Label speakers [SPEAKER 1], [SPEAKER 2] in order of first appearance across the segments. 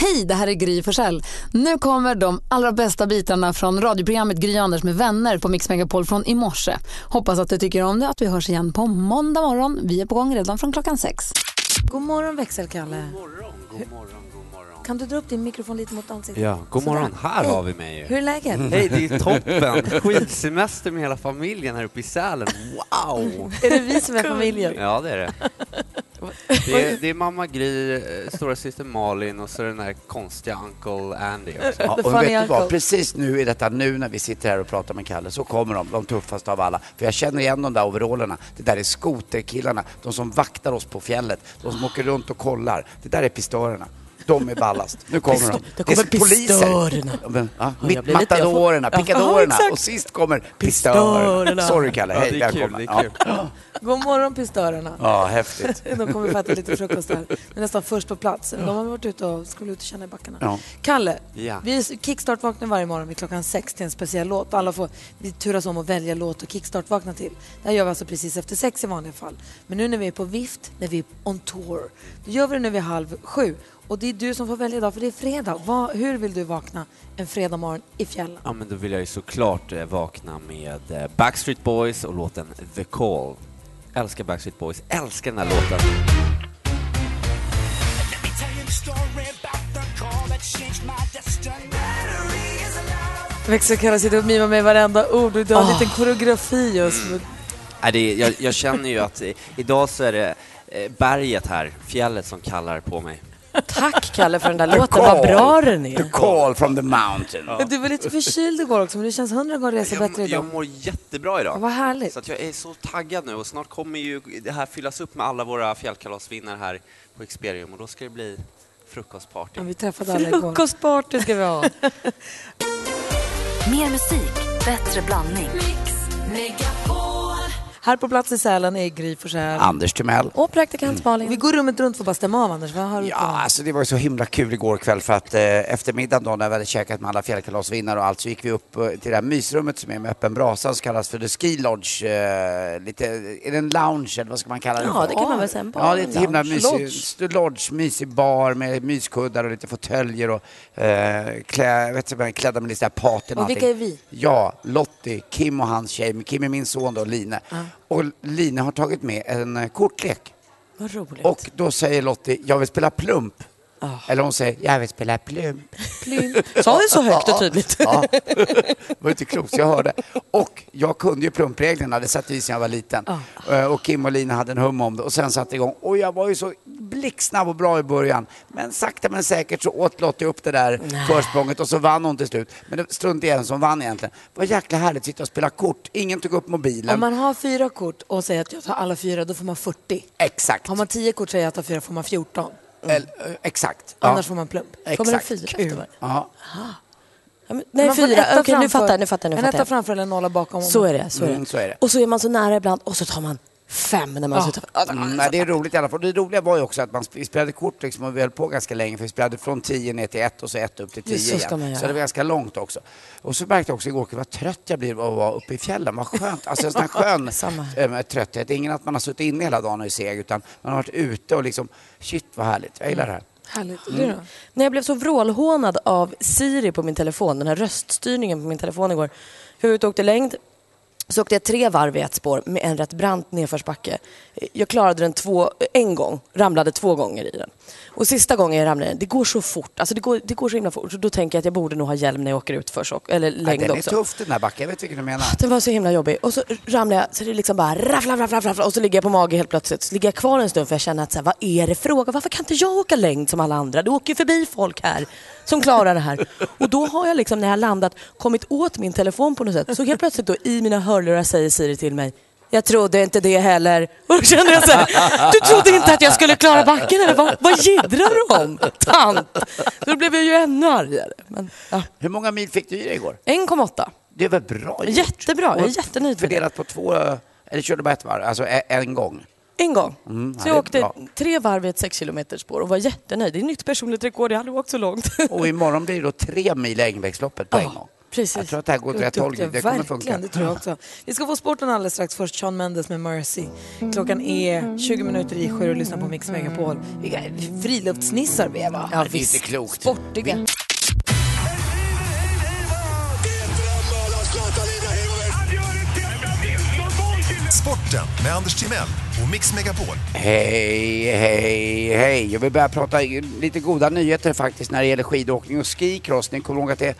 [SPEAKER 1] Hej, det här är Gry Forssell. Nu kommer de allra bästa bitarna från radioprogrammet Gry Anders med vänner på Mix Megapol från i morse. Hoppas att du tycker om det att vi hörs igen på måndag morgon. Vi är på gång redan från klockan sex.
[SPEAKER 2] God morgon växelkalle. God morgon, Kan du dra upp din mikrofon lite mot ansiktet?
[SPEAKER 3] Ja, god
[SPEAKER 2] Sådär.
[SPEAKER 3] morgon. Här
[SPEAKER 2] Hej.
[SPEAKER 3] har vi mig Mm. ju.
[SPEAKER 2] Hur är läget?
[SPEAKER 3] Hej, det är toppen! Skidsemester med hela familjen här uppe i Sälen. Wow!
[SPEAKER 2] Är det vi som är familjen?
[SPEAKER 3] Ja, det är det. Det är, det är mamma Gry, eh, stora syster Malin och så den där konstiga Uncle Andy också.
[SPEAKER 4] Ja,
[SPEAKER 2] The
[SPEAKER 4] och
[SPEAKER 2] funny
[SPEAKER 4] vet du
[SPEAKER 2] uncle.
[SPEAKER 4] vad? Precis nu i detta nu när vi sitter här och pratar med Kalle så kommer de, de tuffaste av alla. För jag känner igen de där overallerna. Det där är skoterkillarna, de som vaktar oss på fjället, de som åker runt och kollar. Det där är pistörerna. De är ballast. Nu kommer de.
[SPEAKER 5] Det kommer
[SPEAKER 4] är
[SPEAKER 5] pistörerna.
[SPEAKER 4] Ja, men, ja,
[SPEAKER 5] jag blir lite-
[SPEAKER 4] matadorerna,
[SPEAKER 5] jag får-
[SPEAKER 4] pickadorerna
[SPEAKER 5] Ja, exakt.
[SPEAKER 4] och sist kommer
[SPEAKER 5] Pistörerna.
[SPEAKER 4] pistörerna. Sorry Kalle,
[SPEAKER 3] Ja,
[SPEAKER 4] hej,
[SPEAKER 3] det är kul,
[SPEAKER 4] välkommen.
[SPEAKER 3] det är kul.
[SPEAKER 2] God morgon pistörerna.
[SPEAKER 4] Ja, ja, häftigt.
[SPEAKER 2] De kommer få äta lite frukost här. De är nästan först på plats. De har varit ute och skulle ut och känna i backarna.
[SPEAKER 4] Ja.
[SPEAKER 2] Kalle,
[SPEAKER 3] Ja.
[SPEAKER 2] vi kickstart-vaknar varje morgon vid klockan sex till en speciell låt. Alla får, vi turas om att välja låt och kickstart-vakna till. Det här gör vi alltså precis efter sex i vanliga fall. Men nu när vi är på vift, när vi är on tour, då gör vi det nu vid halv sju. Och det är du som får välja idag, för det är fredag. Vad- hur vill du vakna en fredag morgon i fjällen?
[SPEAKER 3] Ja, men då vill jag ju såklart eh, vakna med eh, Backstreet Boys och låten The Call. Älskar Backstreet Boys, älskar den här låten.
[SPEAKER 2] Växelkalle sitter och mimar med varenda ord och du har en liten koreografi just nu.
[SPEAKER 3] Nej, Äh, det, är- jag, jag känner ju att eh, idag så är det eh, berget här, fjället som kallar på mig.
[SPEAKER 5] Tack Kalle för den där låten, vad bra den
[SPEAKER 4] The
[SPEAKER 5] är.
[SPEAKER 4] call from the mountain.
[SPEAKER 2] Du var lite förkyld igår också, men det känns hundra gånger resa
[SPEAKER 3] Jag,
[SPEAKER 2] bättre idag.
[SPEAKER 3] jag mår jättebra idag.
[SPEAKER 2] Ja, vad härligt.
[SPEAKER 3] Så att jag är så taggad nu och snart kommer ju det här fyllas upp med alla våra fjällkalasvinnare här på Experium och då ska det bli frukostparty.
[SPEAKER 2] Ja, vi träffade alla igår.
[SPEAKER 5] Frukostparty ska vi ha.
[SPEAKER 1] Mer musik, bättre blandning.
[SPEAKER 2] Här på plats i Sälen är Gry Forssell.
[SPEAKER 4] Anders Timell.
[SPEAKER 5] Och praktikant
[SPEAKER 2] Mm. Vi
[SPEAKER 5] Malin.
[SPEAKER 2] går rummet runt för att bara stämma av, Anders. Vad har du
[SPEAKER 4] Ja,
[SPEAKER 2] på?
[SPEAKER 4] alltså det var ju så himla kul igår kväll för att eh, eftermiddagen då när vi hade käkat med alla fjällkalasvinnare och allt så gick vi upp eh, till det här mysrummet som är med öppen brasa som kallas för The Ski Lodge. Eh, lite, är det en lounge eller vad ska man kalla det
[SPEAKER 5] Ja,
[SPEAKER 4] för?
[SPEAKER 5] det kan man väl säga, en bar,
[SPEAKER 4] Ja, det är ett
[SPEAKER 5] en
[SPEAKER 4] himla
[SPEAKER 5] lounge.
[SPEAKER 4] mysig
[SPEAKER 5] Lodge.
[SPEAKER 4] st- lodge, mysig bar med myskuddar och lite fåtöljer och eh, klä, vet du, vad, klädda med lite så här paten
[SPEAKER 2] Och
[SPEAKER 4] allting.
[SPEAKER 2] vilka är vi?
[SPEAKER 4] Jag, Lottie, Kim och hans tjej. Kim är min son då, Line. Och Line har tagit med en eh, kortlek.
[SPEAKER 5] Vad roligt. Ah.
[SPEAKER 4] Och då säger Lottie, jag vill spela plump. Eller hon säger, jag vill spela plump.
[SPEAKER 5] Sa ni så högt och tydligt?
[SPEAKER 4] Ja. Det var inte klokt, så jag hörde. Och jag kunde ju plumpreglerna, det satt vi i sedan jag var liten. Eh, Och Kim och Lina hade en hum om det och sen satte det igång. Och jag var ju så blixtsnabb och bra i början. Men sakta men säkert så åt Lottie upp det där försprånget och så vann hon till slut. Men det strunt i en som vann egentligen. Vad jäkla härligt att sitta och spela kort. Ingen tog upp
[SPEAKER 2] Om
[SPEAKER 4] mobilen.
[SPEAKER 2] man har fyra kort och säger att jag tar alla fyra, då får man 40.
[SPEAKER 4] Exakt.
[SPEAKER 2] Har man tio kort och säger jag tar fyra, får man 14.
[SPEAKER 4] Eller, eh, Exakt.
[SPEAKER 2] Mm. Annars
[SPEAKER 4] ja.
[SPEAKER 2] får man plump.
[SPEAKER 5] Kommer det
[SPEAKER 4] Exakt.
[SPEAKER 5] fyra efter varje?
[SPEAKER 4] Ja.
[SPEAKER 5] Ja, men- Nej,
[SPEAKER 2] Man får en
[SPEAKER 5] fyra.
[SPEAKER 2] etta
[SPEAKER 5] Okej, nu
[SPEAKER 2] framför-
[SPEAKER 5] fattar jag, nu fattar jag, nu
[SPEAKER 2] En
[SPEAKER 5] fattar
[SPEAKER 2] etta
[SPEAKER 5] jag.
[SPEAKER 2] framför eller en nolla bakom.
[SPEAKER 5] Så är det, så är det.
[SPEAKER 4] Mm, så är det.
[SPEAKER 5] Och så är man så nära ibland och så tar man fem när man alltså- slutar.
[SPEAKER 4] Mm, nej, det är roligt i alla fall. Det roliga var ju också att man sp- vi spelade kort liksom och vi höll på ganska länge för vi spelade från 10 ner till 1 och så 1 upp till 10
[SPEAKER 5] Just så ska man
[SPEAKER 4] igen.
[SPEAKER 5] göra.
[SPEAKER 4] Så det var ganska långt också. Och så märkte jag också igår kväll vad trött jag blir av att vara uppe i fjällen. Vad skönt. Alltså en sån här skön
[SPEAKER 5] Samma.
[SPEAKER 4] eh, trötthet. Ingen att man har suttit inne hela dagen och är seg utan man har varit ute och liksom shit vad härligt. Jag gillar det här.
[SPEAKER 2] Härligt. Du då?
[SPEAKER 5] Mm. När jag blev så vrålhånad av Siri på min telefon, den här röststyrningen på min telefon igår. Jag var ute och åkte längd. Så åkte jag tre varv i ett spår med en rätt brant nedförsbacke. Jag klarade den två, en gång, ramlade två gånger i den. Och sista gången jag ramlade i den, det går så fort, alltså det går, det går så himla fort. Så då tänker jag att jag borde nog ha hjälm när jag åker ut för så, eller
[SPEAKER 4] Nej,
[SPEAKER 5] längd
[SPEAKER 4] den är
[SPEAKER 5] också.
[SPEAKER 4] tuff den här backen. Jag vet vilken du menar.
[SPEAKER 5] Den var så himla jobbig. Och så ramlade jag så det liksom bara raffla, raffla, raffla och så ligger jag på mage helt plötsligt. Så ligger jag kvar en stund för jag känner att så här, vad är det fråga? Varför kan inte jag åka längd som alla andra? Det åker ju förbi folk här som klarar det här. Och då har jag liksom när jag har landat kommit åt min telefon på något sätt. Så helt plötsligt då i mina hörlurar säger Siri till mig jag trodde inte det heller. Och då kände jag så här, du trodde inte att jag skulle klara backen eller vad, vad jiddrar du om? Tant! Då blev jag ju ännu argare. Men, ja.
[SPEAKER 4] Hur många mil fick du i dig igår?
[SPEAKER 5] 1,8.
[SPEAKER 4] Det var bra gjort.
[SPEAKER 5] Jättebra, jag är
[SPEAKER 4] Och
[SPEAKER 5] jättenöjd med det.
[SPEAKER 4] eh, Fördelat på två, eller körde du bara ett varv? Alltså e- en gång?
[SPEAKER 5] En gång.
[SPEAKER 4] ja,
[SPEAKER 5] så
[SPEAKER 4] det
[SPEAKER 5] jag
[SPEAKER 4] är
[SPEAKER 5] åkte
[SPEAKER 4] bra.
[SPEAKER 5] tre varv i ett 6 km spår och var jättenöjd. Det är nytt personligt rekord, jag har aldrig åkt så långt.
[SPEAKER 4] Och imorgon blir det då tre mil Engelbrektsloppet på en gång.
[SPEAKER 5] precis.
[SPEAKER 4] Jag tror att det här går åt
[SPEAKER 2] Gud,
[SPEAKER 4] rätt håll.
[SPEAKER 2] duktiga.
[SPEAKER 4] Det kommer
[SPEAKER 2] Verkligen,
[SPEAKER 4] funka.
[SPEAKER 2] det tror jag också. Vi ska få sporten alldeles strax. Först Sean Mendes med Mercy. Klockan är 20 minuter i sju och lyssna på Mix Megapol. Vilka friluftsnissar vi är, va?
[SPEAKER 5] Ja,
[SPEAKER 4] Det är inte klokt.
[SPEAKER 2] Sportiga.
[SPEAKER 6] Sporten med Anders Timell och Mix Megapol.
[SPEAKER 4] Hej, hej, hej. Jag vill börja prata lite goda nyheter faktiskt när det gäller skidåkning och skicross. Ni kommer ihåg att det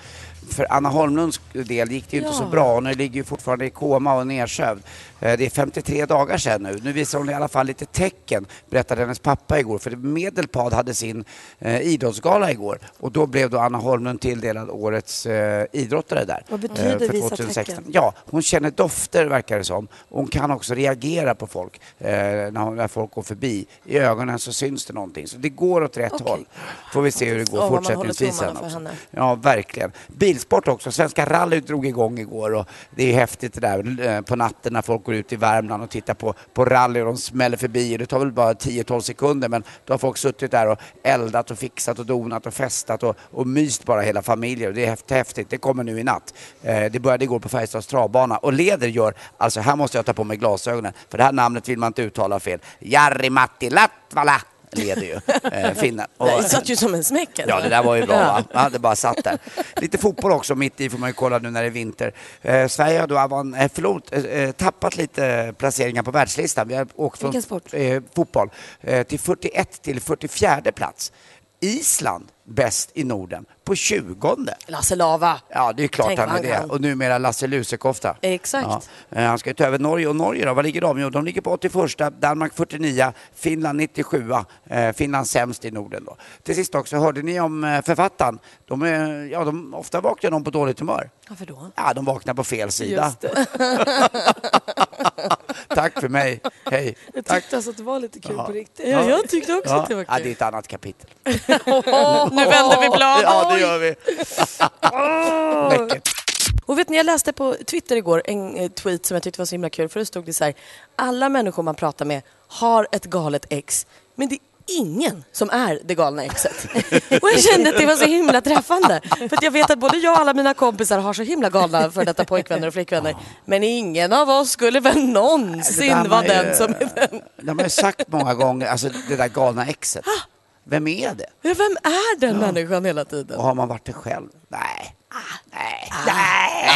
[SPEAKER 4] för Anna Holmlunds del gick det ju inte så bra. Hon ligger ju fortfarande i koma och nedsövd. Eh, Det är 53 dagar sedan nu. Nu visar hon i alla fall lite tecken, berättade hennes pappa igår. För Medelpad hade sin eh, idrottsgala igår och då blev då Anna Holmlund tilldelad årets eh, idrottare där.
[SPEAKER 2] Vad betyder
[SPEAKER 4] Eh, för
[SPEAKER 2] visa
[SPEAKER 4] 2016.
[SPEAKER 2] tecken?
[SPEAKER 4] Ja, hon känner dofter verkar det som. Hon kan också reagera på folk eh, när, hon, när folk går förbi. I ögonen så syns det någonting. Så det går åt rätt håll. Får vi se hur det går
[SPEAKER 5] Åh, vad man håller
[SPEAKER 4] fortsättningsvis.
[SPEAKER 5] tummarna
[SPEAKER 4] sen också.
[SPEAKER 5] för henne.
[SPEAKER 4] Ja, verkligen. Bilsport också. Svenska rallyt drog igång igår och det är häftigt det där eh, på natten när folk går ut i Värmland och tittar på, på rally och de smäller förbi. Det tar väl bara 10-12 sekunder men då har folk suttit där och eldat och fixat och donat och festat och, och myst bara hela familjer. Och Det är häft- häftigt. Det kommer nu i natt. Eh, Det började igår på Färjestads travbana och leder gör, alltså här måste jag ta på mig glasögonen för det här namnet vill man inte uttala fel. Jari Matti Latvala leder ju eh, finnen.
[SPEAKER 5] Det
[SPEAKER 4] Och-
[SPEAKER 5] satt ju som en smäck. eller?
[SPEAKER 4] Ja, det där var ju bra.
[SPEAKER 5] Ja.
[SPEAKER 4] Va? Man hade bara satt där. Lite fotboll också mitt i får man ju kolla nu när det är vinter. Eh, Sverige har då avan, eh, förlåt, eh, eh, tappat lite placeringar på världslistan. Vi har åkt från
[SPEAKER 2] Vilken sport?
[SPEAKER 4] Eh, fotboll eh, till 41 till 44 plats. Island bäst i Norden på 20.
[SPEAKER 5] Lasse Lava.
[SPEAKER 4] Ja, det är klart
[SPEAKER 5] Tänk
[SPEAKER 4] han är
[SPEAKER 5] vad han
[SPEAKER 4] det.
[SPEAKER 5] kan.
[SPEAKER 4] Och numera Lasse Lusekofta.
[SPEAKER 5] Exakt.
[SPEAKER 4] Ja. Eh, Han ska ju ta över Norge. Och Norge då, var ligger de? Jo, de ligger på 81, Danmark 49, Finland 97. Eh, Finland sämst i Norden då. Till sist också, hörde ni om eh, författaren? De är, ja, de, ofta vaknar de på dåligt humör.
[SPEAKER 5] Varför då?
[SPEAKER 4] Ja, de vaknar på fel sida.
[SPEAKER 5] Just det.
[SPEAKER 4] Tack för mig. Hej.
[SPEAKER 2] Jag
[SPEAKER 4] Tack.
[SPEAKER 2] tyckte alltså att det var lite kul på riktigt.
[SPEAKER 5] Ja, jag tyckte också
[SPEAKER 4] Ja.
[SPEAKER 5] att det var
[SPEAKER 4] ja, det är
[SPEAKER 5] kul.
[SPEAKER 4] ett annat kapitel.
[SPEAKER 5] nu vänder vi blad.
[SPEAKER 4] Ja, det gör vi. Läckert.
[SPEAKER 5] Och vet ni, jag läste på Twitter igår en eh, tweet som jag tyckte var så himla kul. För det stod det så här, alla människor man pratar med har ett galet ex, men det är ingen som är det galna exet. och jag kände att det var så himla träffande. För att jag vet att både jag och alla mina kompisar har så himla galna för detta pojkvänner och flickvänner. Men ingen av oss skulle väl
[SPEAKER 4] Det där
[SPEAKER 5] någonsin vara
[SPEAKER 4] man ju-
[SPEAKER 5] den som är den. Ah!
[SPEAKER 4] De har ju sagt många gånger, alltså det där galna exet. Vem är det?
[SPEAKER 5] Ja, Vem är den människan hela tiden?
[SPEAKER 4] Och har man varit det själv? Nej. Nej. Nej.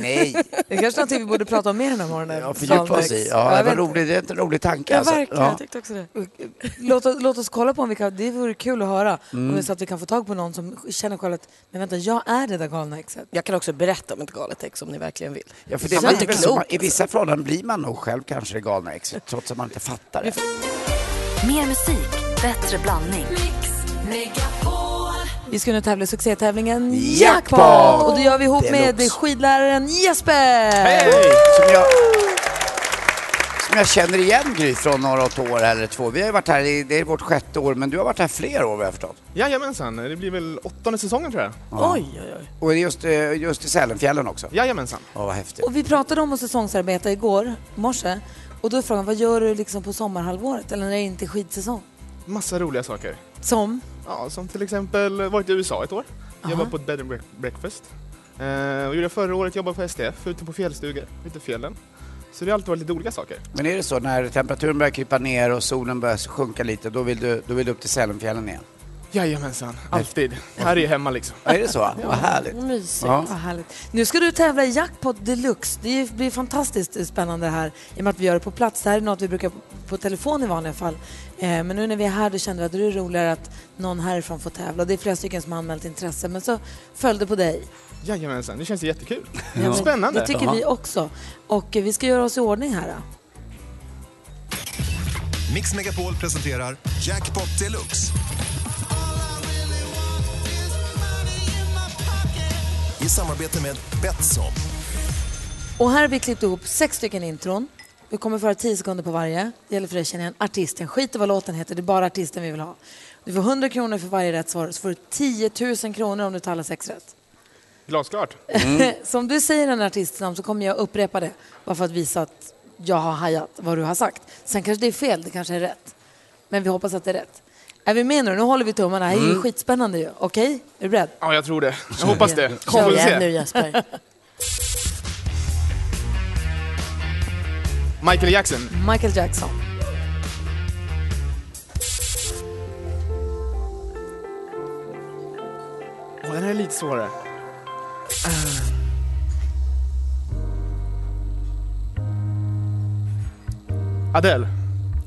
[SPEAKER 4] Nej.
[SPEAKER 2] Det är kanske någonting vi borde prata om mer den här morgonen.
[SPEAKER 4] Jag fördjupar oss i. Ja, det var roligt. Det är en rolig tanke.
[SPEAKER 2] Ja,
[SPEAKER 4] Alltså.
[SPEAKER 2] verkligen.
[SPEAKER 4] Ja.
[SPEAKER 5] Jag tyckte också det.
[SPEAKER 2] Låt, oss- låt oss kolla på om vi kan, det vore kul att höra.
[SPEAKER 4] Mm.
[SPEAKER 2] Om det är så att vi kan få tag på någon som känner själv att, men vänta, jag är det där galna exet.
[SPEAKER 5] Jag kan också berätta om ett galet ex om ni verkligen vill.
[SPEAKER 4] Ja, för det
[SPEAKER 5] Jag är inte
[SPEAKER 4] är väl så,
[SPEAKER 5] klok,
[SPEAKER 4] I vissa förhållanden blir man nog själv kanske det galna exet, trots att man inte fattar det.
[SPEAKER 7] Mer musik, bättre blandning.
[SPEAKER 2] Vi ska nu tävla i succétävlingen
[SPEAKER 4] Jackpot!
[SPEAKER 2] Jackpot! Och det gör vi ihop med
[SPEAKER 4] Deluxe.
[SPEAKER 2] skidläraren Jesper!
[SPEAKER 4] Som jag, som jag känner igen Gry från några åt år eller två. Vi har ju varit här, i, det är vårt sjätte år, men du har varit här fler år vad jag har förstått.
[SPEAKER 8] Jajamensan, det blir väl åttonde säsongen tror jag.
[SPEAKER 5] Oj, oj, oj.
[SPEAKER 4] Och just, eh, just i Sälenfjällen också.
[SPEAKER 8] Jajamensan.
[SPEAKER 4] Ja, vad häftigt.
[SPEAKER 2] Och vi pratade om att säsongsarbeta igår morse. Och då är frågan, vad gör du liksom på sommarhalvåret eller när det inte är skidsäsong?
[SPEAKER 8] Massa roliga saker.
[SPEAKER 2] Som?
[SPEAKER 8] Ja, som till exempel varit i USA ett år. Jobbade på ett bed and break- breakfast. Eh, och gjorde förra året jobbade på STF ute på fjällstugor, ute i fjällen. Så det har alltid varit lite olika saker.
[SPEAKER 4] Men är det så när temperaturen börjar krypa ner och solen börjar sjunka lite, då vill du, då vill du upp till Sälenfjällen igen?
[SPEAKER 8] Jajamensan, alltid. Här är ju hemma liksom.
[SPEAKER 4] Ja, Är det så? Vad härligt.
[SPEAKER 5] Mysigt.
[SPEAKER 4] Ja.
[SPEAKER 2] Vad härligt. Nu ska du tävla i Jackpot Deluxe. Det blir fantastiskt spännande här i och med att vi gör det på plats. Det här är något vi brukar på telefon i vanliga fall. Eh, Men nu när vi är här då kände vi att det är roligare att någon härifrån får tävla. Det är flera stycken som har anmält intresse men så följde på dig.
[SPEAKER 8] Jajamensan, det känns ju jättekul.
[SPEAKER 2] Ja, men
[SPEAKER 8] Spännande.
[SPEAKER 2] Det tycker vi också. Och eh, vi ska göra oss i ordning här. Då.
[SPEAKER 6] Mix Megapol presenterar Jackpot Deluxe. I samarbete med Betsson.
[SPEAKER 2] Och här har vi klippt ihop sex stycken intron. Vi kommer föra tio sekunder på varje. Det gäller för dig att känna igen artisten. Skit i vad låten heter, det är bara artisten vi vill ha. Du får 100 kronor för varje rätt svar, så får du 10 000 kronor om du tar alla sex rätt.
[SPEAKER 8] Glasklart.
[SPEAKER 2] Mm.
[SPEAKER 4] Mm.
[SPEAKER 2] så om du säger en artistnamn så kommer jag upprepa det, bara för att visa att jag har hajat vad du har sagt. Sen kanske det är fel, det kanske är rätt. Men vi hoppas att det är rätt. Är vi med nu? Nu håller vi tummarna. Det här är ju
[SPEAKER 8] Mm.
[SPEAKER 2] skitspännande ju. Okej? Är du beredd?
[SPEAKER 8] Ja, jag tror det. Jag hoppas det. Vi får
[SPEAKER 2] Kom
[SPEAKER 8] väl se.
[SPEAKER 2] igen nu Jesper.
[SPEAKER 8] Michael Jackson.
[SPEAKER 2] Michael Jackson.
[SPEAKER 8] Åh, den här är lite svårare. Eh. Adele.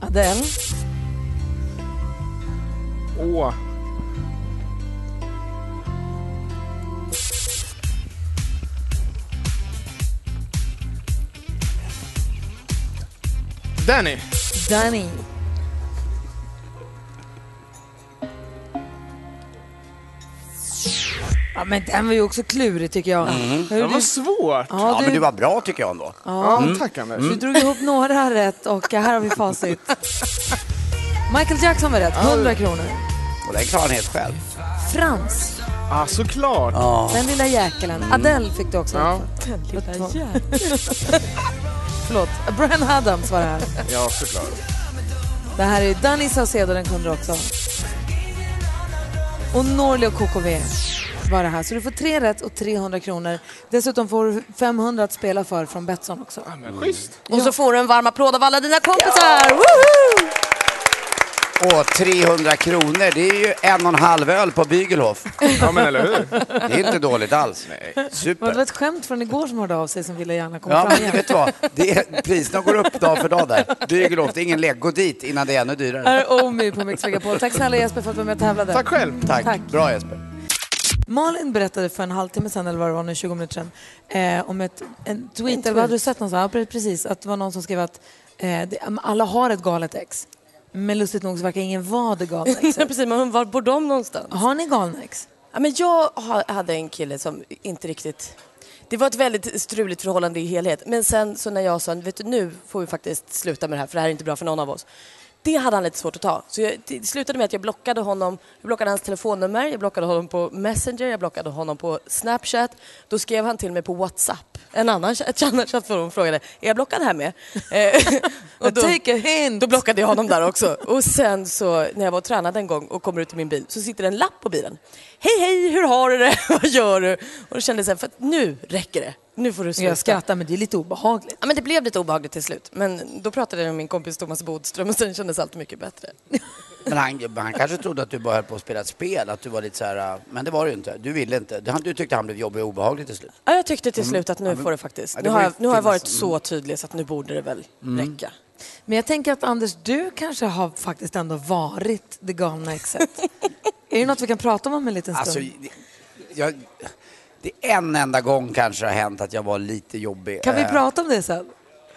[SPEAKER 2] Adele.
[SPEAKER 8] Åh. Danny.
[SPEAKER 2] Danny. Ja, men den var ju också klurig tycker jag.
[SPEAKER 4] Mm.
[SPEAKER 2] Hörru, du-
[SPEAKER 8] svårt.
[SPEAKER 2] Ja,
[SPEAKER 4] Ja,
[SPEAKER 2] du-
[SPEAKER 4] men du var bra tycker jag ändå.
[SPEAKER 2] Ja.
[SPEAKER 4] Mm.
[SPEAKER 2] Du
[SPEAKER 4] Mm.
[SPEAKER 2] drog ihop några rätt och här har vi facit. Michael Jackson var rätt, 100 kronor.
[SPEAKER 4] Och den klarar han helt själv.
[SPEAKER 2] Frans,
[SPEAKER 8] Ah, såklart.
[SPEAKER 2] den lilla jäkeln. Adele fick du också
[SPEAKER 8] Ja.
[SPEAKER 2] rätt för. Det var- Förlåt, Brian Adams var det här.
[SPEAKER 8] Ja, såklart.
[SPEAKER 2] Det här är Danny Saucedo, den kunde du också. Och Norli och KKV var det här. Så du får tre rätt och 300 kronor. Dessutom får du 500 att spela för från Betsson också.
[SPEAKER 8] Schysst.
[SPEAKER 5] Och så får du en varm applåd av alla dina kompisar!
[SPEAKER 2] Ja.
[SPEAKER 4] Och 300 kronor, det är ju en och en halv öl på Bygelhof.
[SPEAKER 8] Ja, men eller hur?
[SPEAKER 4] Det är inte dåligt alls.
[SPEAKER 2] Var Det var
[SPEAKER 4] Super.
[SPEAKER 2] ett skämt från igår som hörde av sig som ville gärna komma
[SPEAKER 4] Ja,
[SPEAKER 2] fram
[SPEAKER 4] men
[SPEAKER 2] igen.
[SPEAKER 4] vet du vad? Det är, priserna går upp dag för dag där. Bygelhof, det är ingen lek. Gå dit innan det är ännu
[SPEAKER 2] Här
[SPEAKER 4] dyrare.
[SPEAKER 2] är Omi på Mix Megapol. Tack snälla Jesper för att du var med och tävlade.
[SPEAKER 4] Tack själv. Tack. Bra Jesper.
[SPEAKER 2] Malin berättade för en halvtimme sedan, eller vad det var nu, 20 minuter sedan, eh, om ett, en tweet, eller vad hade du sett någonstans? Ja, pre- precis, att det var någon som skrev att eh, det, alla har ett galet ex. Men lustigt nog så verkar ingen vara det galna exet.
[SPEAKER 5] Precis, men var bor de någonstans?
[SPEAKER 2] Har ni galna ex?
[SPEAKER 5] Ja, men jag ha- hade en kille som inte riktigt... Det var ett väldigt struligt förhållande i helhet. Men sen så när jag sa, vet du nu får vi faktiskt sluta med det här för det här är inte bra för någon av oss. Det hade han lite svårt att ta. Så jag, det slutade med att jag blockade honom. Jag blockade hans telefonnummer, jag blockade honom på Messenger, jag blockade honom på Snapchat. Då skrev han till mig på WhatsApp. En annan cha- ett annat chattforum frågade, är jag blockad här med? Eh, och då,
[SPEAKER 2] Take a hint!
[SPEAKER 5] då blockade jag honom där också. Och sen så när jag var och tränade en gång och kommer ut till min bil så sitter det en lapp på bilen. Hej hej, hur har du det? Vad gör du? Och då kände jag så här, för att nu räcker det. Nu får du sluta.
[SPEAKER 2] Jag skrattar, men det är lite obehagligt.
[SPEAKER 5] Ja, men det blev lite obehagligt till slut. Men då pratade jag med min kompis Thomas Bodström och sen kändes allt mycket bättre.
[SPEAKER 4] Men han, men han kanske trodde att du bara höll på att spela ett spel, att du var lite så här, äh, men det var du inte. Du ville inte. Du, han- du tyckte han blev jobbig och obehaglig till slut.
[SPEAKER 5] Ja, jag tyckte till
[SPEAKER 4] Mm.
[SPEAKER 5] slut att nu
[SPEAKER 4] Ja, men-
[SPEAKER 5] får det faktiskt.
[SPEAKER 4] Ja, det
[SPEAKER 5] nu,
[SPEAKER 4] var
[SPEAKER 5] har
[SPEAKER 4] ju
[SPEAKER 5] jag, nu har jag varit
[SPEAKER 4] finnas. Mm.
[SPEAKER 5] så tydlig så att nu borde det väl räcka.
[SPEAKER 2] Men jag tänker att Anders, du kanske har faktiskt ändå varit det galna exet. är det något vi kan prata om om en liten stund?
[SPEAKER 4] Alltså, det, jag, det är en enda gång kanske det har hänt att jag var lite jobbig.
[SPEAKER 2] kan vi
[SPEAKER 4] Eh,
[SPEAKER 2] prata om det sen?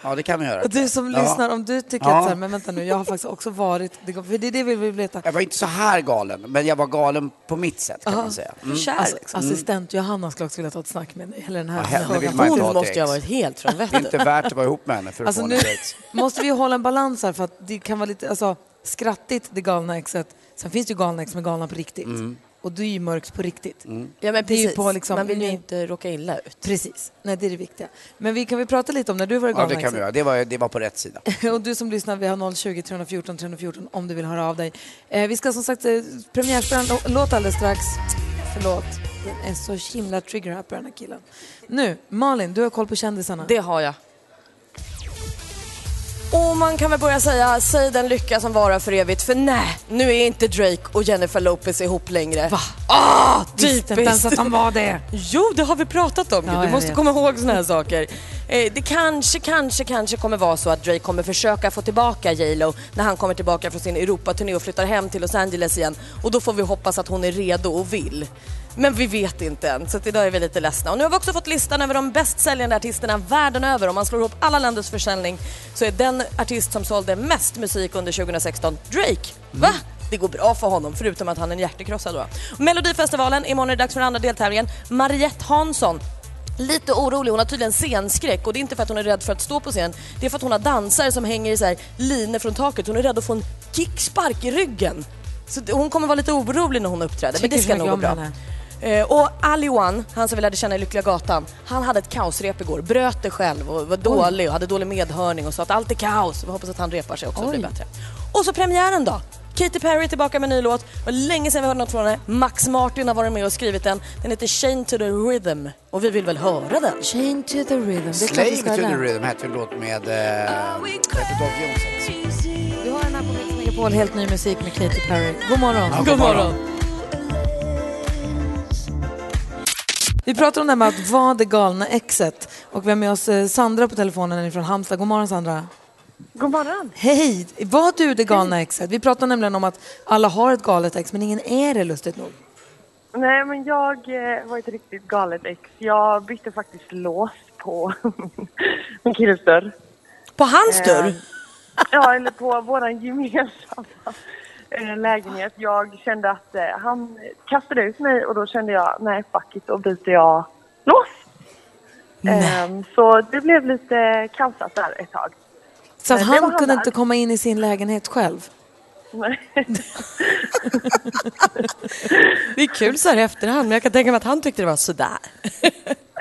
[SPEAKER 4] Ja, det kan vi göra.
[SPEAKER 2] Och du som
[SPEAKER 4] Ja.
[SPEAKER 2] lyssnar, om du tycker
[SPEAKER 4] Ja.
[SPEAKER 2] att så här, men vänta nu, jag har faktiskt också varit det galna, för det är det vi vill veta.
[SPEAKER 4] Jag var inte så här galen, men jag var galen på mitt sätt kan
[SPEAKER 2] Ja.
[SPEAKER 4] man säga.
[SPEAKER 2] Alltså,
[SPEAKER 4] Mm.
[SPEAKER 2] Assistent Johanna skulle också vilja ta ett snack med dig. Eller den
[SPEAKER 4] Ja,
[SPEAKER 2] här
[SPEAKER 4] henne vill
[SPEAKER 2] frågan.
[SPEAKER 4] man inte ha till ex.
[SPEAKER 5] helt från
[SPEAKER 4] Det är inte värt att vara ihop med henne för att
[SPEAKER 2] Alltså
[SPEAKER 4] få
[SPEAKER 2] nu
[SPEAKER 4] en sex.
[SPEAKER 2] måste vi hålla en balans här för att det kan vara lite alltså, skrattigt det galna exet. Sen finns det ju galna ex som är galna på riktigt.
[SPEAKER 4] Mm.
[SPEAKER 2] Och du är ju mörkt på riktigt.
[SPEAKER 5] Ja, men
[SPEAKER 2] Det är ju
[SPEAKER 5] precis.
[SPEAKER 2] på liksom-
[SPEAKER 5] Man vill ju
[SPEAKER 2] ni-
[SPEAKER 5] inte råka illa ut.
[SPEAKER 2] Precis, nej det är det viktiga. Men vi, kan vi prata lite om när du var det
[SPEAKER 4] Ja,
[SPEAKER 2] galna
[SPEAKER 4] det
[SPEAKER 5] liksom.
[SPEAKER 4] kan vi
[SPEAKER 2] exet?
[SPEAKER 4] göra. Det var, det var på rätt sida.
[SPEAKER 2] Och du som lyssnar, vi har 020 314 314 om du vill höra av dig. Eh, vi ska som sagt eh, premiärspela en lå- låt alldeles strax. Förlåt, den är så himla trigger-happy den här killen. Nu, Malin, du har koll på kändisarna.
[SPEAKER 5] Det har jag. Och man kan väl börja säga, säg den lycka som varar för evigt, för nej, nu är inte Drake och Jennifer Lopez ihop längre. Va? Ah,
[SPEAKER 2] Visste
[SPEAKER 5] typiskt!
[SPEAKER 2] typ inte ens att de var det.
[SPEAKER 5] Jo, det har vi pratat om.
[SPEAKER 2] Ja,
[SPEAKER 5] du
[SPEAKER 2] jag
[SPEAKER 5] måste
[SPEAKER 2] vet.
[SPEAKER 5] komma ihåg såna här saker. Eh, Det kanske, kanske, kanske kommer vara så att Drake kommer försöka få tillbaka J Lo när han kommer tillbaka från sin Europaturné och flyttar hem till Los Angeles igen. Och då får vi hoppas att hon är redo och vill. Men vi vet inte än, så att idag är vi lite ledsna. Och nu har vi också fått listan över de bäst säljande artisterna världen över. Om man slår ihop alla länders försäljning så är den artist som sålde mest musik under 2016 Drake. Va? Det går bra för honom, förutom att han är en hjärtekrossad då. Melodifestivalen, imorgon är det dags för den andra deltävlingen. Mariette Hansson lite orolig. Hon har tydligen scenskräck och det är inte för att hon är rädd för att stå på scen. Det är för att hon har dansare som hänger i så här linor från taket. Hon är rädd att få en kickspark i ryggen. Så det- hon kommer vara lite orolig när hon uppträder, men det
[SPEAKER 2] Tycker
[SPEAKER 5] ska
[SPEAKER 2] så
[SPEAKER 5] nog gå
[SPEAKER 2] mycket om
[SPEAKER 5] bra.
[SPEAKER 2] henne.
[SPEAKER 5] Eh, och Ali One, han som vi lärde känna i Lyckliga Gatan, han hade ett kaosrep igår. Bröt det själv och var dålig och hade dålig medhörning och sa att allt är kaos. Vi hoppas att han repar sig också och blir
[SPEAKER 9] Oj.
[SPEAKER 5] bättre. Och så premiären då. Katy Perry är tillbaka med en ny låt. Det var länge sedan vi hörde något från henne. Max Martin har varit med och skrivit den. Den heter Chain to the Rhythm och vi vill väl höra den?
[SPEAKER 2] Chain to the Rhythm. Det är klart
[SPEAKER 4] Slave
[SPEAKER 2] vi ska
[SPEAKER 4] to
[SPEAKER 2] ha
[SPEAKER 4] the
[SPEAKER 2] den.
[SPEAKER 4] rhythm hette en låt med... Eh,
[SPEAKER 2] Vi har den här på Mix Megapol, helt ny musik med Katy Perry. God morgon.
[SPEAKER 4] Ja, god morgon.
[SPEAKER 2] Vi pratar om det här med att vara det galna exet. Och vi har med oss eh, Sandra på telefonen från Halmstad. God morgon Sandra.
[SPEAKER 10] God morgon.
[SPEAKER 2] Hej! Var du det galna exet? Vi pratar nämligen om att alla har ett galet ex men ingen är det lustigt nog.
[SPEAKER 10] Nej, men jag eh, var ett riktigt galet ex. Jag bytte faktiskt lås på min killes dörr.
[SPEAKER 5] På hans
[SPEAKER 11] Eh,
[SPEAKER 5] dörr?
[SPEAKER 10] Ja, eller på våran gemensamma eh, lägenhet. Jag kände att eh, han kastade ut mig och då kände jag, nej fuck it, då byter jag lås. Ehm, så det blev lite kaosat där ett tag.
[SPEAKER 2] Så att
[SPEAKER 10] Men det var
[SPEAKER 2] han kunde
[SPEAKER 10] där.
[SPEAKER 2] inte komma in i sin lägenhet själv.
[SPEAKER 5] Det är kul så här i efterhand men jag kan tänka mig att han tyckte det var sådär.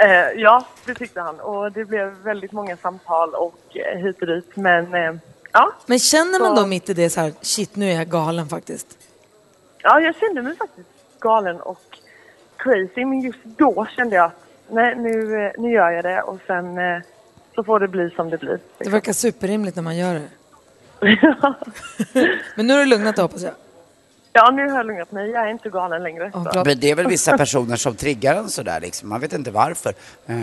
[SPEAKER 10] Eh, ja, det tyckte han. Och det blev väldigt många samtal och eh, hit och dit. Men eh, ja.
[SPEAKER 2] Men känner man
[SPEAKER 10] Så-
[SPEAKER 2] då mitt i det så här, shit nu är jag galen faktiskt?
[SPEAKER 10] Ja, jag kände mig faktiskt galen och crazy. Men just då kände jag att nej, nu, eh, nu gör jag det och sen eh, så får det bli som det blir.
[SPEAKER 2] Det verkar superrimligt när man gör det. men nu har du lugnat dig hoppas jag.
[SPEAKER 10] Ja, nu har jag lugnat mig. Jag är inte galen längre. så.
[SPEAKER 4] Men det är väl vissa personer som triggar en sådär liksom. Man vet inte varför. Eh,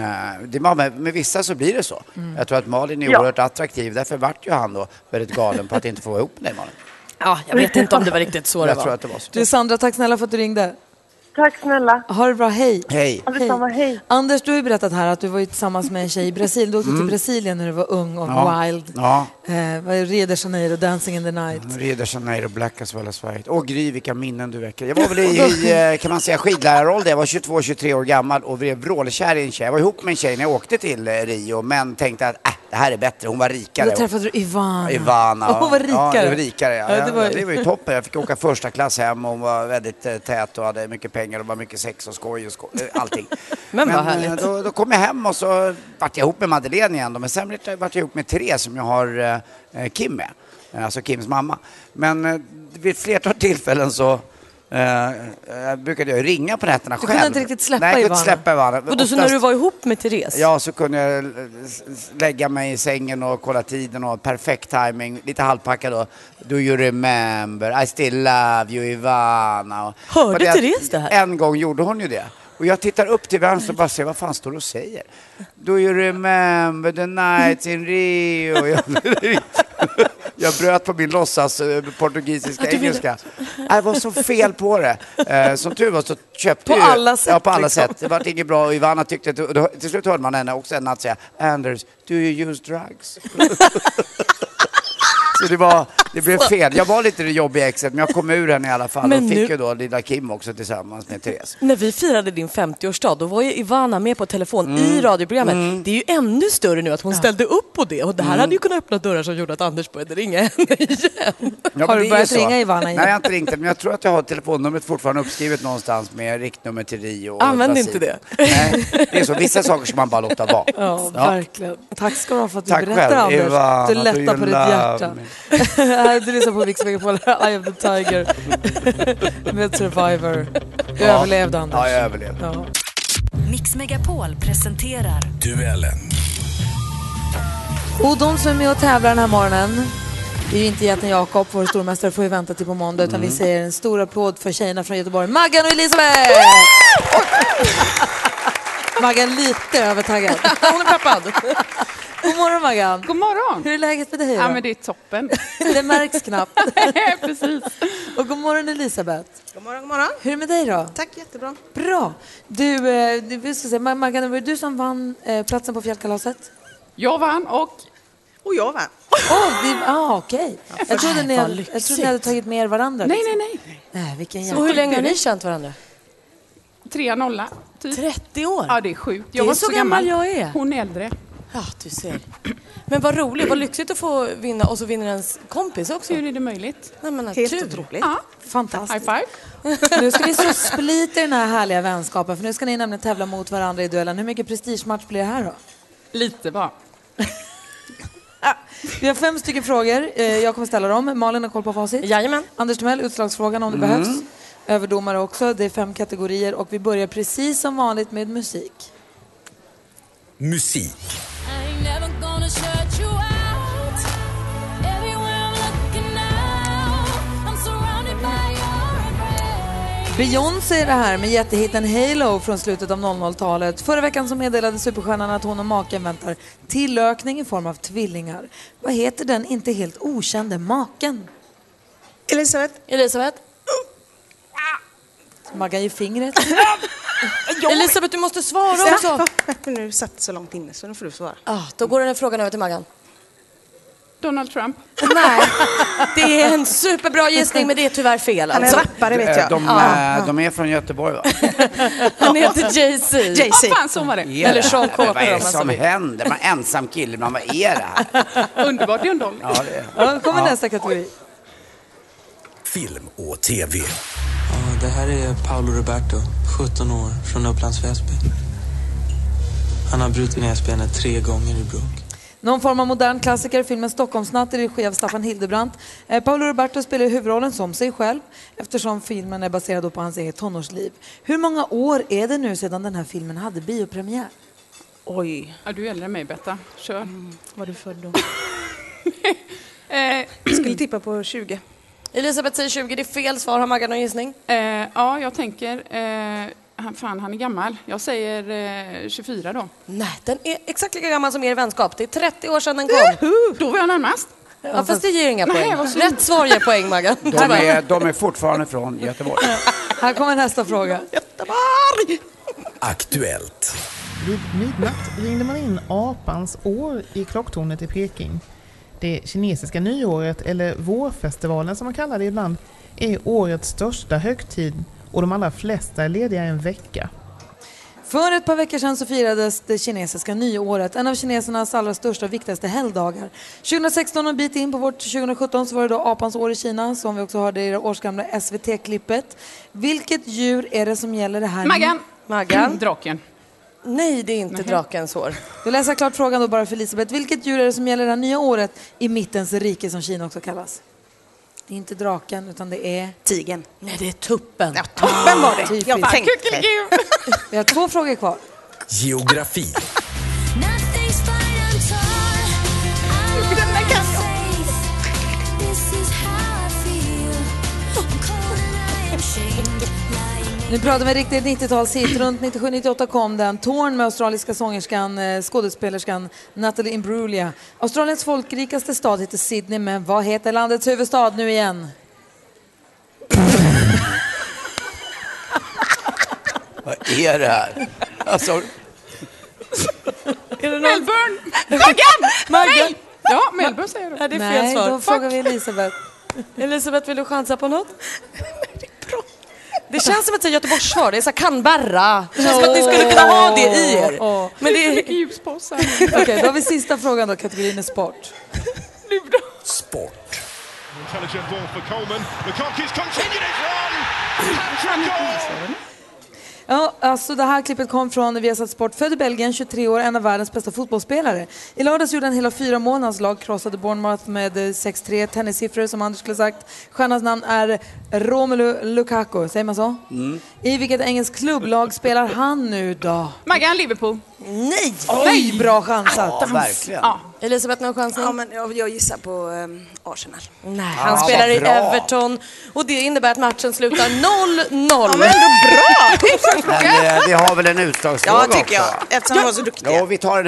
[SPEAKER 4] det, man- med, med vissa så blir det så.
[SPEAKER 10] Mm.
[SPEAKER 4] Jag tror att Malin är
[SPEAKER 10] Ja.
[SPEAKER 4] oerhört attraktiv. Därför vart ju han då väldigt galen på att inte få vara ihop med dig Malin.
[SPEAKER 5] Ja, jag vet inte om det var riktigt så det
[SPEAKER 4] Jag
[SPEAKER 5] var.
[SPEAKER 4] tror att det var så.
[SPEAKER 2] Du Sandra, tack snälla för att du ringde.
[SPEAKER 10] Tack snälla.
[SPEAKER 2] Ha det bra, hej.
[SPEAKER 4] Hej.
[SPEAKER 10] Ja, detsamma, hej.
[SPEAKER 2] Anders, du har ju berättat här att du var ju tillsammans med en tjej i Brasilien. Du åkte
[SPEAKER 4] Mm.
[SPEAKER 2] till Brasilien när du var ung och
[SPEAKER 4] Ja.
[SPEAKER 2] wild.
[SPEAKER 4] Ja.
[SPEAKER 2] Eh, vad är Rio de Janeiro, Dancing in the night.
[SPEAKER 4] Rio de Janeiro, Black as well as white. Åh Gry, vilka minnen du väcker. Jag var väl i, i eh, kan man säga, skidlärarroll. Jag var 22-23 år gammal och blev vrålkär i en tjej. Jag var ihop med en tjej när jag åkte till eh, Rio, men tänkte att äh, det här är bättre. Hon var rikare.
[SPEAKER 2] Då träffade du Ivana.
[SPEAKER 4] Ivana.
[SPEAKER 2] Och hon var
[SPEAKER 4] Ja,
[SPEAKER 2] rikare.
[SPEAKER 4] det var rikare. Ja.
[SPEAKER 2] Ja, det var ju-
[SPEAKER 4] det var ju toppen. Jag fick åka första klass hem och hon var väldigt eh, tät och hade mycket pengar och var mycket sex och skoj och skoj, eh, allting.
[SPEAKER 5] Men vad
[SPEAKER 4] eh,
[SPEAKER 5] härligt.
[SPEAKER 4] Då, då kom jag hem och så vart jag ihop med Madeleine igen då, men sen vart jag- vart jag ihop med Therese som jag har eh, eh, Kim med, eh, alltså Kims mamma. Men eh, vid ett flertal tillfällen så eh, eh, brukade jag ringa på nätterna
[SPEAKER 5] Du
[SPEAKER 4] själv.
[SPEAKER 5] kunde inte riktigt släppa
[SPEAKER 4] Nej, jag kunde
[SPEAKER 5] Ivana.
[SPEAKER 4] inte släppa Ivana.
[SPEAKER 5] Och då så när
[SPEAKER 4] Oftast-
[SPEAKER 5] du var ihop med Therese?
[SPEAKER 4] Ja, så kunde jag eh, s- s- lägga mig i sängen och kolla tiden och perfekt timing. Lite halvpackad då. Do you remember? I still love you Ivana. Och-
[SPEAKER 5] Hörde
[SPEAKER 4] och det-
[SPEAKER 5] Therese det här?
[SPEAKER 4] En gång gjorde hon ju det. Och jag tittar upp till vänster och bara ser vad fan står du och säger? Do you remember the night in Rio? Jag, jag bröt på min låtsas eh, portugisiska
[SPEAKER 5] Ja, du ville-
[SPEAKER 4] engelska. Det var så fel på det. Eh, som tur var så köpte
[SPEAKER 5] På
[SPEAKER 4] ju...
[SPEAKER 5] alla sätt,
[SPEAKER 4] Ja, på alla
[SPEAKER 5] liksom.
[SPEAKER 4] sätt. Det vart inget bra och Ivana tyckte... Att, och då, till slut hörde man henne också en natt säga Anders, do you use drugs? så det, var, det blev fel. Jag var lite det jobbiga exet, men jag kom ur henne i alla fall.
[SPEAKER 5] Men
[SPEAKER 4] och fick
[SPEAKER 5] nu-
[SPEAKER 4] ju då lilla Kim också tillsammans med Therese.
[SPEAKER 5] När vi firade din 50-årsdag, då var ju Ivana med på telefon
[SPEAKER 2] Mm.
[SPEAKER 5] i radioprogrammet. Det är ju ännu större nu att hon ställde upp på det. Och det här
[SPEAKER 2] Mm.
[SPEAKER 5] hade ju kunnat öppna dörrar som gjorde att Anders började ringa henne igen.
[SPEAKER 4] Ja, men det är ju så. Nej, jag har inte ringt henne, men jag tror att jag har telefonnumret fortfarande uppskrivet någonstans med riktnummer till Rio. och
[SPEAKER 5] Använd
[SPEAKER 4] Brasilien.
[SPEAKER 5] inte det.
[SPEAKER 4] Nej, det är så. Vissa saker ska man bara låta vara.
[SPEAKER 2] Ja, verkligen. Tack ska du ha för att du
[SPEAKER 4] Tack
[SPEAKER 2] berättar
[SPEAKER 4] själv,
[SPEAKER 2] Anders.
[SPEAKER 4] Ivana,
[SPEAKER 2] du
[SPEAKER 4] do
[SPEAKER 2] lättar
[SPEAKER 4] you
[SPEAKER 2] på ditt
[SPEAKER 4] love
[SPEAKER 2] hjärta. Här, du lyssnar på Mix Megapol, Eye of the Tiger med Survivor. Du
[SPEAKER 7] Ja.
[SPEAKER 2] överlevde Anders.
[SPEAKER 7] Ja, jag
[SPEAKER 4] överlevde.
[SPEAKER 2] Ja.
[SPEAKER 7] Mix Megapol presenterar
[SPEAKER 6] Duellen.
[SPEAKER 2] Och de som är med och tävlar den här morgonen, det är ju inte jätten Jakob, vår stormästare får vi vänta till på måndag, utan vi säger en stor applåd för tjejerna från Göteborg, Maggan och Elisabeth! Och- Maggan lite övertaggad. Hon är peppad. God morgon Maggan. God morgon. Hur är läget för dig?
[SPEAKER 12] Ja,
[SPEAKER 2] då?
[SPEAKER 12] men det är toppen.
[SPEAKER 2] det märks knappt. Precis. Och god morgon Elisabeth.
[SPEAKER 13] God morgon, god morgon.
[SPEAKER 2] Hur är det med dig då?
[SPEAKER 13] Tack, jättebra.
[SPEAKER 2] Bra. Du, eh, du vi ska se, Ma- Maggan, det var du som vann eh, platsen på fjällkalaset?
[SPEAKER 12] Jag vann och...
[SPEAKER 13] Och jag vann.
[SPEAKER 2] Oh, vi, ah, okej. Jag, trodde ni,
[SPEAKER 13] Vad
[SPEAKER 2] hade- jag trodde ni hade tagit med er varandra.
[SPEAKER 12] Nej,
[SPEAKER 2] liksom.
[SPEAKER 12] nej, nej.
[SPEAKER 2] nej. vilken
[SPEAKER 12] Så
[SPEAKER 2] jävla-
[SPEAKER 12] hur länge har ni
[SPEAKER 2] känt varandra?
[SPEAKER 12] Tre nolla, typ.
[SPEAKER 5] 30 år?
[SPEAKER 12] Ja, det är sjukt. Jag
[SPEAKER 2] Det är
[SPEAKER 12] var inte
[SPEAKER 2] så gammal jag är.
[SPEAKER 12] Hon är äldre.
[SPEAKER 5] Ja, du ser. Men vad roligt, vad lyxigt att få vinna och så vinner ens kompis också. Hur
[SPEAKER 12] är det möjligt?
[SPEAKER 5] Nej, men,
[SPEAKER 2] Helt
[SPEAKER 5] tur.
[SPEAKER 2] otroligt.
[SPEAKER 12] Ja.
[SPEAKER 2] Fantastiskt.
[SPEAKER 12] High
[SPEAKER 2] Nu ska vi så split i den här härliga vänskapen för nu ska ni nämligen tävla mot varandra i duellen. Hur mycket prestigematch blir det här då?
[SPEAKER 12] Lite bara.
[SPEAKER 2] Vi har fem stycken frågor. Eh, Jag kommer ställa dem. Malin har koll på facit.
[SPEAKER 5] Jajamän.
[SPEAKER 2] Anders Timell, utslagsfrågan om det
[SPEAKER 5] Mm.
[SPEAKER 2] behövs. Överdomare också. Det är fem kategorier och vi börjar precis som vanligt med musik.
[SPEAKER 9] Musik.
[SPEAKER 2] Beyoncé är det här med jättehitten Halo från slutet av 00-talet. Förra veckan så meddelade superstjärnan att hon och maken väntar tillökning i form av tvillingar. Vad heter den inte helt okände maken?
[SPEAKER 13] Elisabeth.
[SPEAKER 5] Elisabeth.
[SPEAKER 2] Maggan ger fingret.
[SPEAKER 5] Elisabeth, du måste svara också.
[SPEAKER 13] nu satt det så långt inne så nu får du svara.
[SPEAKER 5] Ah, då går den här frågan över till Maggan.
[SPEAKER 12] Donald Trump.
[SPEAKER 5] Nej, det är en superbra gissning men det är tyvärr fel.
[SPEAKER 13] Han är
[SPEAKER 5] alltså.
[SPEAKER 13] rappare, vet jag.
[SPEAKER 4] De,
[SPEAKER 5] Ja.
[SPEAKER 4] eh, de är från Göteborg va?
[SPEAKER 5] Han heter Jay-Z.
[SPEAKER 13] Jay-Z.
[SPEAKER 12] Ja, fan, så var det.
[SPEAKER 4] Är
[SPEAKER 5] Eller
[SPEAKER 4] det?
[SPEAKER 5] Sean Carter.
[SPEAKER 4] Vad är
[SPEAKER 5] om
[SPEAKER 4] det
[SPEAKER 5] man
[SPEAKER 4] som
[SPEAKER 5] så vill.
[SPEAKER 4] händer? Man är ensam kille, man vad är det här?
[SPEAKER 12] Underbart, det är en dolly.
[SPEAKER 4] Ja, det är.
[SPEAKER 2] Ja, då kommer nästa kategori.
[SPEAKER 9] Film och TV.
[SPEAKER 14] Ja, Det här är Paolo Roberto, 17 år, från Upplands Väsby. Han har brutit näsbenet tre gånger i bråk.
[SPEAKER 2] Någon form av modern klassiker, filmen Stockholmsnatt i regi av Staffan Hildebrandt. Eh, Paolo Roberto spelar huvudrollen som sig själv eftersom filmen är baserad då på hans eget tonårsliv. Hur många år är det nu sedan den här filmen hade biopremiär?
[SPEAKER 13] Oj.
[SPEAKER 12] Ja, du är äldre än mig, Betta. Kör.
[SPEAKER 13] Var du född då?
[SPEAKER 12] eh,
[SPEAKER 13] Jag skulle tippa på 20.
[SPEAKER 5] Elisabeth säger 20, det är fel svar. Har Maggan någon gissning?
[SPEAKER 12] eh, ja, jag tänker... Eh, han, fan, han är gammal. Jag säger eh, 24 då.
[SPEAKER 5] Nej, den är exakt lika gammal som er vänskap. Det är 30 år sedan den kom.
[SPEAKER 12] Då var jag närmast.
[SPEAKER 5] Ja, fast det ger inga poäng.
[SPEAKER 12] vad synd.
[SPEAKER 5] Rätt svar ger poäng, Maggan.
[SPEAKER 4] De är, de är fortfarande från Göteborg.
[SPEAKER 2] Här kommer nästa fråga.
[SPEAKER 9] Aktuellt.
[SPEAKER 15] Vid midnatt ringde man in apans år i klocktornet i Peking. Det kinesiska nyåret, eller vårfestivalen som man kallar det ibland, är årets största högtid och de allra flesta är lediga en vecka.
[SPEAKER 2] För ett par veckor sedan så firades det kinesiska nyåret, en av kinesernas allra största och viktigaste helgdagar. 2016 och en bit in på vårt 2017 så var det då apans år i Kina som vi också hörde i det årsgamla SVT-klippet. Vilket djur är det som gäller det här?
[SPEAKER 12] Maggan.
[SPEAKER 2] Maggan.
[SPEAKER 12] Draken.
[SPEAKER 5] Nej, det är inte drakens hår.
[SPEAKER 2] Då läser jag klart frågan då bara för Elisabeth. Vilket djur är det som gäller det här nya året i mittens rike som Kina också kallas? Det är inte draken utan det är...
[SPEAKER 13] Tigen.
[SPEAKER 5] Nej, det är tuppen.
[SPEAKER 13] Ja, tuppen var det.
[SPEAKER 2] Typiskt.
[SPEAKER 13] Jag tänkte.
[SPEAKER 2] Vi har två frågor kvar.
[SPEAKER 9] Geografi.
[SPEAKER 2] Nu pratar vi riktigt 90-talshit. Runt 97-98 kom den. Torn med australiska sångerskan, eh, skådespelerskan Natalie Imbruglia. Australiens folkrikaste stad heter Sydney, men vad heter landets huvudstad nu igen?
[SPEAKER 4] Vad är det här? Alltså,
[SPEAKER 2] Är det
[SPEAKER 12] Melbourne! Maggan!
[SPEAKER 2] Maggan!
[SPEAKER 12] Nej! Ja, Melbourne säger du.
[SPEAKER 5] Nej, det är fel
[SPEAKER 2] Nej,
[SPEAKER 5] svar.
[SPEAKER 2] då frågar vi Elisabeth.
[SPEAKER 5] Elisabeth, vill du chansa på något? Det känns som ett så här Göteborgssvar, det är så här Canberra. Det känns som att ni skulle kunna ha det i er.
[SPEAKER 2] Åh, åh.
[SPEAKER 5] Men det är...
[SPEAKER 12] Vilken ljusbås här.
[SPEAKER 2] Okej, då har vi sista frågan då, kategorin är sport.
[SPEAKER 9] Sport.
[SPEAKER 6] Intelligent ball for Coleman. Lukaku's continued his run. Patrick goal.
[SPEAKER 2] Ja, alltså det här klippet kom från Viasat Sport. Född i Belgien, 23 år, en av världens bästa fotbollsspelare. I lördags gjorde han hela fyra mål. Hans lag krossade Bournemouth med eh, 6-3. Tennissiffror som Anders skulle sagt. Stjärnans namn är Romelu Lukaku, säger man så?
[SPEAKER 4] mm.
[SPEAKER 2] I vilket engelskt klubblag spelar han nu då?
[SPEAKER 12] Maggan, Liverpool.
[SPEAKER 13] Nej!
[SPEAKER 2] Oj, bra chansat!
[SPEAKER 4] Ja, verkligen.
[SPEAKER 12] Ja.
[SPEAKER 5] Elisabeth, någon chansning?
[SPEAKER 13] Ja, men jag, jag gissar på ehm, Arsenal.
[SPEAKER 5] Nej, han
[SPEAKER 4] Ja,
[SPEAKER 5] spelar i
[SPEAKER 4] bra.
[SPEAKER 5] Everton och det innebär att matchen slutar 0-0.
[SPEAKER 13] Ja, men ändå bra! Tusen
[SPEAKER 4] Men
[SPEAKER 13] frågor.
[SPEAKER 4] eh, vi har väl en utslagsfråga
[SPEAKER 13] Ja, tycker jag.
[SPEAKER 4] också?
[SPEAKER 13] Eftersom de var så duktiga.
[SPEAKER 4] Ja, vi tar en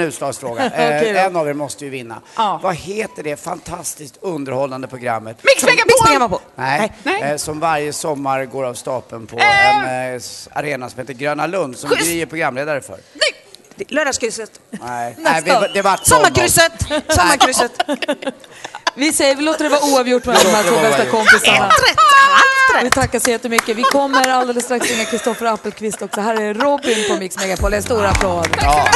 [SPEAKER 4] utslagsfråga.
[SPEAKER 13] Okej då.
[SPEAKER 4] Eh, en av er måste ju vinna.
[SPEAKER 12] Ja.
[SPEAKER 4] Vad heter det fantastiskt underhållande programmet?
[SPEAKER 12] Mix Megapol!
[SPEAKER 2] på!
[SPEAKER 4] Nej,
[SPEAKER 12] Nej.
[SPEAKER 4] Eh, som varje sommar går av stapeln på en eh, s- arena som heter Gröna Lund som
[SPEAKER 13] Schysst.
[SPEAKER 4] Gry är programledare för.
[SPEAKER 13] Lördagskrysset.
[SPEAKER 4] Nej, Nej
[SPEAKER 13] Nästa.
[SPEAKER 4] vi, det vart
[SPEAKER 13] Sommarkrysset! Sommarkrysset.
[SPEAKER 2] Vi säger, vi låter det vara oavgjort mellan de här två bästa kompisarna. Vi tackar så jättemycket. Vi kommer alldeles strax ringa Kristoffer Appelqvist också. Här är Robin på Mix Megapol. En stor applåd.
[SPEAKER 4] Ja.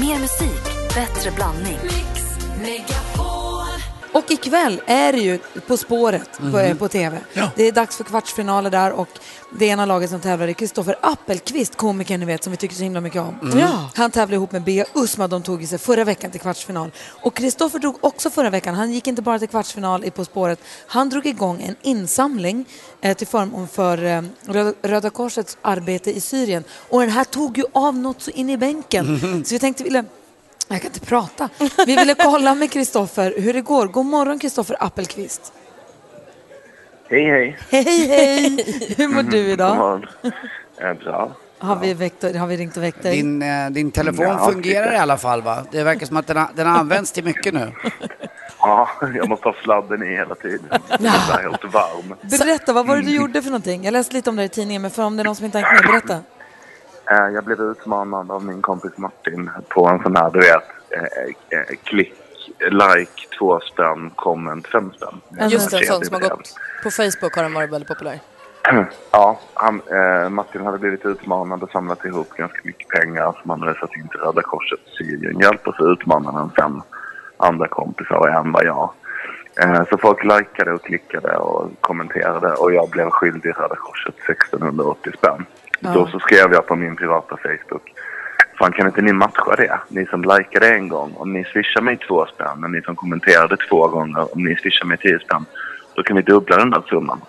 [SPEAKER 7] Mer musik, bättre blandning. Mix Megapol.
[SPEAKER 2] Och ikväll är det ju På spåret på,
[SPEAKER 7] Mhm.
[SPEAKER 2] på TV. Det är dags för kvartsfinaler där och det ena laget som tävlar är Kristoffer Appelqvist, komikern ni vet som vi tycker så himla mycket om.
[SPEAKER 7] Mm. Ja.
[SPEAKER 2] Han tävlar ihop med Bea Usma, de tog ju sig förra veckan till kvartsfinal. Och Kristoffer drog också förra veckan, han gick inte bara till kvartsfinal i På spåret, han drog igång en insamling eh, till förmån för eh, Röda- Röda Korsets arbete i Syrien. Och den här tog ju av något så in i bänken.
[SPEAKER 7] Mhm.
[SPEAKER 2] Så vi tänkte, ville jag kan inte prata. Vi ville kolla med Kristoffer hur det går. God morgon Kristoffer Appelqvist.
[SPEAKER 16] Hej, hej.
[SPEAKER 2] Hej, hej! Hur mår du
[SPEAKER 16] God
[SPEAKER 2] idag?
[SPEAKER 16] morgon. Eh, Bra.
[SPEAKER 2] Har vi, väckt, har vi ringt och väckt dig?
[SPEAKER 4] Din, eh, din telefon
[SPEAKER 16] Ja,
[SPEAKER 4] fungerar
[SPEAKER 16] lite.
[SPEAKER 4] i alla fall va? Det verkar som att den, har- den har använts till mycket nu.
[SPEAKER 16] Ja, jag måste ha sladden i hela tiden. Jag är helt Mm. varm.
[SPEAKER 2] Berätta, vad var det du gjorde för någonting? Jag läste lite om det i tidningen, men för om det är någon som inte har hängt med, berätta.
[SPEAKER 16] Eh, Jag blev utmanad av min kompis Martin på en sån här, du vet, eh, eh, klick, like, två spänn, comment, fem spänn.
[SPEAKER 4] eh,
[SPEAKER 5] Just en
[SPEAKER 16] Jag
[SPEAKER 5] sån
[SPEAKER 16] blev
[SPEAKER 5] som har
[SPEAKER 16] det.
[SPEAKER 5] gått på Facebook har den varit väldigt populär.
[SPEAKER 16] Ja, han, eh, Martin hade blivit utmanad och samlat ihop ganska mycket pengar som han hade satt in till Röda Korset i Syrien. Hjälp och så utmanade han fem andra kompisar och en var jag. Eh, så folk likade och klickade och kommenterade och jag blev skyldig Röda Korset 1680 spänn.
[SPEAKER 17] Ja.
[SPEAKER 16] Då så skrev jag på min privata Facebook. Fan kan inte ni matcha det? Ni som likade en gång, om ni swishar mig två spänn, och ni som kommenterade två gånger, om ni swishar mig tio spänn, då kan vi dubbla den där summan.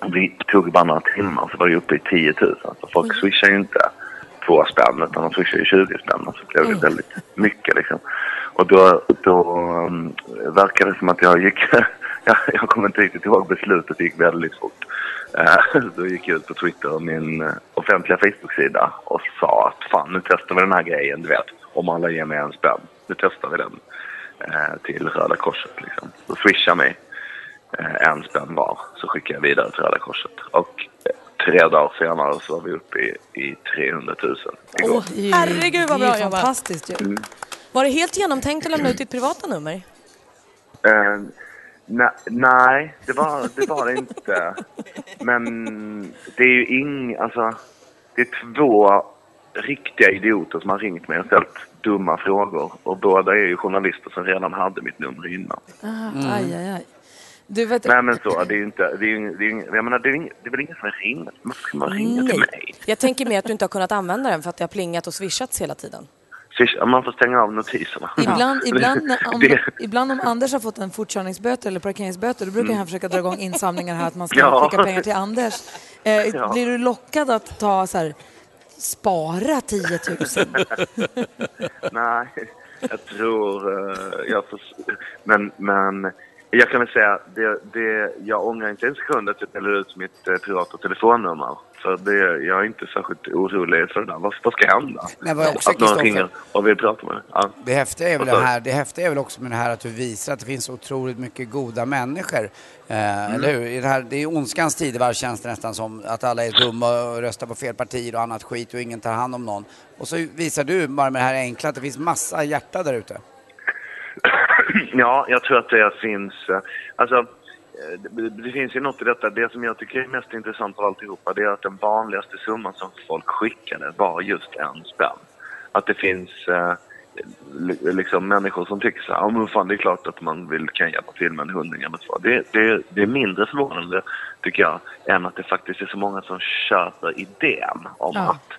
[SPEAKER 16] Och det tog bara några timmar så var det uppe i 10 000. Så folk swishar ju inte två spänn utan de swishar ju 20 spänn. Och Så blev det väldigt mycket liksom. Och då, då um, verkade det som att jag gick... jag, jag kommer inte riktigt ihåg beslutet, det gick väldigt fort. Eh, då gick jag ut på Twitter, min eh, offentliga Facebook-sida och sa att fan nu testar vi den här grejen, du vet. Om alla ger mig en spänn, nu testar vi den eh, till Röda Korset liksom. Så swishar mig eh, en spänn var så skickade jag vidare till Röda Korset. Och eh, tre dagar senare så var vi uppe i, i 300 000 igår.
[SPEAKER 5] Åh, herregud vad
[SPEAKER 2] Det är
[SPEAKER 5] bra
[SPEAKER 2] ju
[SPEAKER 5] jobbat.
[SPEAKER 2] fantastiskt ju.
[SPEAKER 16] Mm.
[SPEAKER 5] Var det helt genomtänkt att lämna ut ditt privata nummer?
[SPEAKER 16] Eh, ne- nej, det var det var det inte. Men det är ju ing, alltså, det är två riktiga idioter som har ringt mig och ställt dumma frågor. Och båda är ju journalister som redan hade mitt nummer innan.
[SPEAKER 2] Ah,
[SPEAKER 16] Mm.
[SPEAKER 2] Aj, aj, aj. Du vet...
[SPEAKER 16] Nej men så, det är ju inte, det är ju, det är ju, jag menar det är, ju ing- det är väl ingen som ringer, varför ska man ringa till mig?
[SPEAKER 5] Jag tänker mer att du inte har kunnat använda den för att det har plingat och swishats hela tiden.
[SPEAKER 16] Swish, ja, man får stänga av notiserna.
[SPEAKER 2] Ibland,
[SPEAKER 16] Det-
[SPEAKER 2] ibland, när, om,
[SPEAKER 16] det-
[SPEAKER 2] ibland om Anders har fått en fortkörningsböter eller parkeringsböter, då brukar
[SPEAKER 16] Mm.
[SPEAKER 2] han försöka dra igång insamlingar här, att man ska
[SPEAKER 16] Ja.
[SPEAKER 2] skicka pengar till Anders. Eh,
[SPEAKER 16] Ja.
[SPEAKER 2] Blir du lockad att ta så här, spara 10 000?
[SPEAKER 16] Nej, jag tror... eh, jag får, men, men jag kan väl säga, det, det, jag ångrar inte en sekund att jag delade ut mitt eh, privata telefonnummer. Så det, jag är inte särskilt orolig för det där. Vad, vad ska hända?
[SPEAKER 4] Men vad jag också,
[SPEAKER 16] att någon
[SPEAKER 4] Kristoffer-
[SPEAKER 16] ringer och vill prata med mig. Ja.
[SPEAKER 4] Det häftiga är väl,
[SPEAKER 16] Vad sa
[SPEAKER 4] det
[SPEAKER 16] du?
[SPEAKER 4] här, det häftiga är väl också med det här att du visar att det finns så otroligt mycket goda människor. Eh,
[SPEAKER 17] Mm.
[SPEAKER 4] Eller hur? I det, här, det är ondskans tidevarv känns det nästan som att alla är dumma och röstar på fel partier och annat skit och ingen tar hand om någon. Och så visar du bara med det här enkla att det finns massa hjärta där ute.
[SPEAKER 16] Ja, jag tror att det finns... eh, Alltså, eh, det, det finns ju något i detta. Det som jag tycker är mest intressant av alltihopa det är att den vanligaste summan som folk skickade var just en spänn. Att det finns eh, li- liksom människor som tycker så här, ja men fan det är klart att man vill, kan hjälpa till med en hundring eller två. Det, det, det är mindre förvånande, tycker jag, än att det faktiskt är så många som köper idén om
[SPEAKER 17] Ja.
[SPEAKER 16] att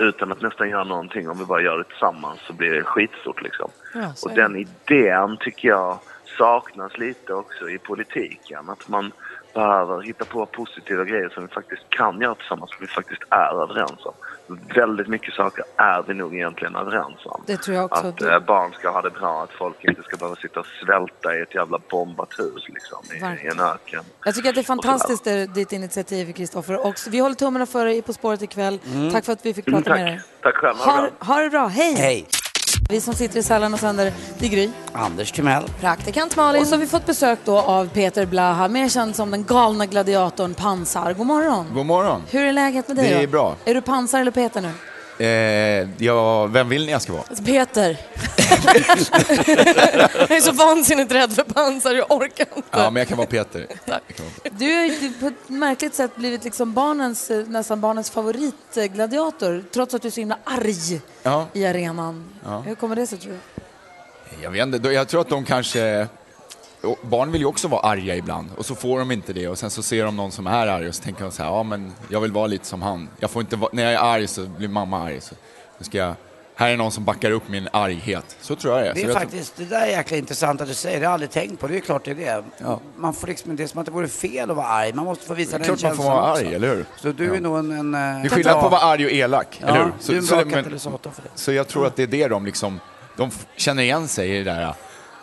[SPEAKER 16] utan att nästan göra någonting, om vi bara gör det tillsammans så blir det skitstort liksom.
[SPEAKER 17] Ja, så
[SPEAKER 2] Alltså,
[SPEAKER 16] och
[SPEAKER 17] är det.
[SPEAKER 16] den idén tycker jag saknas lite också i politiken. Att man behöver hitta på positiva grejer som vi faktiskt kan göra tillsammans, som vi faktiskt är överens om. Väldigt mycket saker är vi nog egentligen överens om.
[SPEAKER 2] Det tror jag också.
[SPEAKER 16] Att eh, barn ska ha det bra, att folk inte ska behöva sitta och svälta i ett jävla bombat hus liksom, i, i en öken.
[SPEAKER 2] Jag tycker att det är fantastiskt det, ditt initiativ, Kristoffer. Och Vi håller tummarna för dig i På spåret ikväll.
[SPEAKER 16] Mm.
[SPEAKER 2] Tack för att vi fick prata
[SPEAKER 16] Tack.
[SPEAKER 2] med dig.
[SPEAKER 16] Tack själv, ha det
[SPEAKER 2] Ha,
[SPEAKER 16] bra.
[SPEAKER 2] ha det bra, hej!
[SPEAKER 4] Hej.
[SPEAKER 2] Vi som sitter i Sällan och sänder, det är Gry.
[SPEAKER 4] Anders Timell.
[SPEAKER 2] Praktikant Malin. Och så har vi fått besök då av Peter Blaha, mer känd som den galna gladiatorn Pansar. God morgon!
[SPEAKER 18] God morgon.
[SPEAKER 2] Hur är läget med dig
[SPEAKER 18] Det är
[SPEAKER 2] då?
[SPEAKER 18] bra.
[SPEAKER 2] Är du Pansar eller Peter nu?
[SPEAKER 17] Eh, ja, vem vill ni jag ska vara?
[SPEAKER 5] Peter. jag är så vansinnigt rädd för pansar, jag orkar inte.
[SPEAKER 17] Ja, men jag kan vara Peter. Jag kan vara Peter.
[SPEAKER 2] Du har ju på ett märkligt sätt blivit liksom barnens, eh, nästan barnens favoritgladiator, trots att du är så himla arg
[SPEAKER 17] Ja,
[SPEAKER 2] i arenan.
[SPEAKER 17] ja.
[SPEAKER 2] Hur kommer det sig, tror du?
[SPEAKER 17] Jag vet inte, då- jag tror att de kanske... och Barn vill ju också vara arga ibland och så får de inte det och sen så ser de någon som är arg och så tänker de så här, ja men jag vill vara lite som han. Jag får inte vara... När jag är arg så blir mamma arg. Så nu ska jag... Här är någon som backar upp min arghet. Så tror jag det är.
[SPEAKER 4] Det
[SPEAKER 17] Så
[SPEAKER 4] är
[SPEAKER 17] jag tror-
[SPEAKER 4] faktiskt, det där är jäkla intressant att du säger, det har jag aldrig tänkt på. Det är klart det är det.
[SPEAKER 17] Ja.
[SPEAKER 4] Man får liksom, det är som att det vore fel att vara arg. Man måste få
[SPEAKER 17] Det
[SPEAKER 4] visa
[SPEAKER 17] är
[SPEAKER 4] den
[SPEAKER 17] klart man får
[SPEAKER 4] känslan
[SPEAKER 17] vara
[SPEAKER 4] också.
[SPEAKER 17] arg, eller hur?
[SPEAKER 4] Så du är nog en... en eh,
[SPEAKER 17] Det är skillnad på att vara arg och elak,
[SPEAKER 4] Ja,
[SPEAKER 17] eller hur?
[SPEAKER 4] du är en bra
[SPEAKER 17] men-
[SPEAKER 4] katalysator för det.
[SPEAKER 17] Så jag tror att det är det de liksom, de f- känner igen sig i det där äh,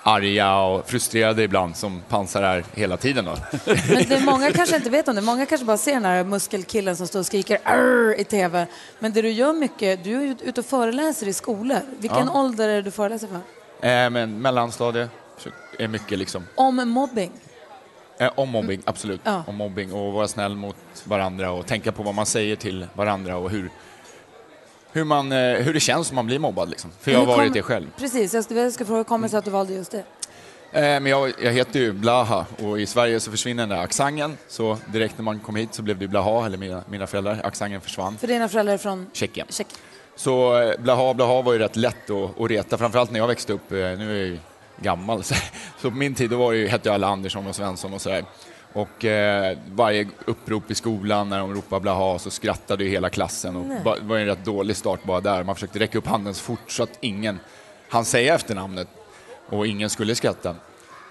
[SPEAKER 17] arga och frustrerade ibland som pansar är hela tiden då.
[SPEAKER 2] Men det är många kanske inte vet om det. Många kanske bara ser den här muskelkillen som står och skriker "Arr!" i TV. Men det du gör mycket, du är ju ute och föreläser i skolor. Vilken
[SPEAKER 17] Ja.
[SPEAKER 2] ålder är det du föreläser för?
[SPEAKER 17] eh, men mellanstadie så är mycket liksom,
[SPEAKER 2] Om mobbing.
[SPEAKER 17] eh, om
[SPEAKER 4] Mm.
[SPEAKER 17] mobbing, absolut.
[SPEAKER 2] Ja.
[SPEAKER 17] Om mobbing och vara snäll mot varandra och tänka på vad man säger till varandra och hur, hur, man, eh, hur det känns om man blir mobbad liksom. För jag har
[SPEAKER 2] Hur
[SPEAKER 17] varit
[SPEAKER 2] kom-
[SPEAKER 17] det själv.
[SPEAKER 2] Precis, jag skulle jag skulle fråga, hur kommer det sig att du valde just det?
[SPEAKER 17] Eh, Men jag, jag heter ju Blaha och i Sverige så försvinner den där accenten. Så direkt när man kom hit så blev det Blaha, eller mina, mina föräldrar. Accenten försvann.
[SPEAKER 2] För dina föräldrar är från
[SPEAKER 17] Tjeckien.
[SPEAKER 2] Tjeckien.
[SPEAKER 17] Så eh, blaha blaha var ju rätt lätt att, att reta, framförallt när jag växte upp. eh, Nu är jag ju gammal, så, så på min tid då var det ju, hette jag alla Andersson och Svensson och sådär. Och eh, varje upprop i skolan när de ropade blaha så skrattade ju hela klassen. Och
[SPEAKER 18] Nej.
[SPEAKER 17] ba, det var ju en rätt dålig start bara där. Man försökte räcka upp handen så fort så att ingen hann säga efternamnet och ingen skulle skratta.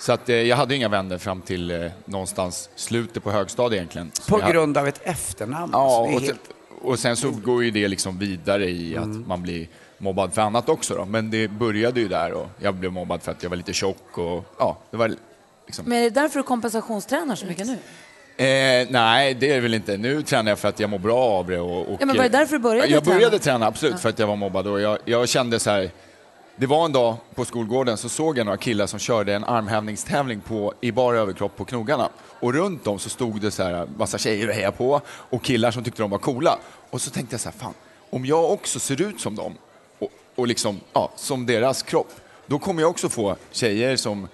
[SPEAKER 17] Så att, eh, jag hade ju inga vänner fram till eh, någonstans slutet på högstadiet egentligen. Så
[SPEAKER 4] På
[SPEAKER 17] jag-
[SPEAKER 4] grund av ett efternamn. alltså,
[SPEAKER 17] Ja,
[SPEAKER 4] det är
[SPEAKER 17] och,
[SPEAKER 4] helt...
[SPEAKER 17] och sen så går ju det liksom vidare i att
[SPEAKER 4] Mm.
[SPEAKER 17] man blir mobbad för annat också. Då. Men det började ju där och jag blev mobbad för att jag var lite tjock och ja, det var liksom...
[SPEAKER 2] Men är det därför du kompensationstränar så mycket nu?
[SPEAKER 17] Eh, nej, det är det väl inte. Nu tränar jag för att jag mår bra av det. Och, och,
[SPEAKER 2] Ja, men var det därför du började
[SPEAKER 17] Jag
[SPEAKER 2] träna?
[SPEAKER 17] började träna, absolut,
[SPEAKER 2] Ja.
[SPEAKER 17] för att jag var mobbad. Och jag, jag kände så här, det var en dag på skolgården så såg jag några killar som körde en armhävningstävling på, i bara överkropp på knogarna. Och runt dem så stod det så här massa tjejer och hejade på och killar som tyckte de var coola. Och så tänkte jag så här, fan, om jag också ser ut som dem och, och liksom, ja, som deras kropp, då kommer jag också få tjejer som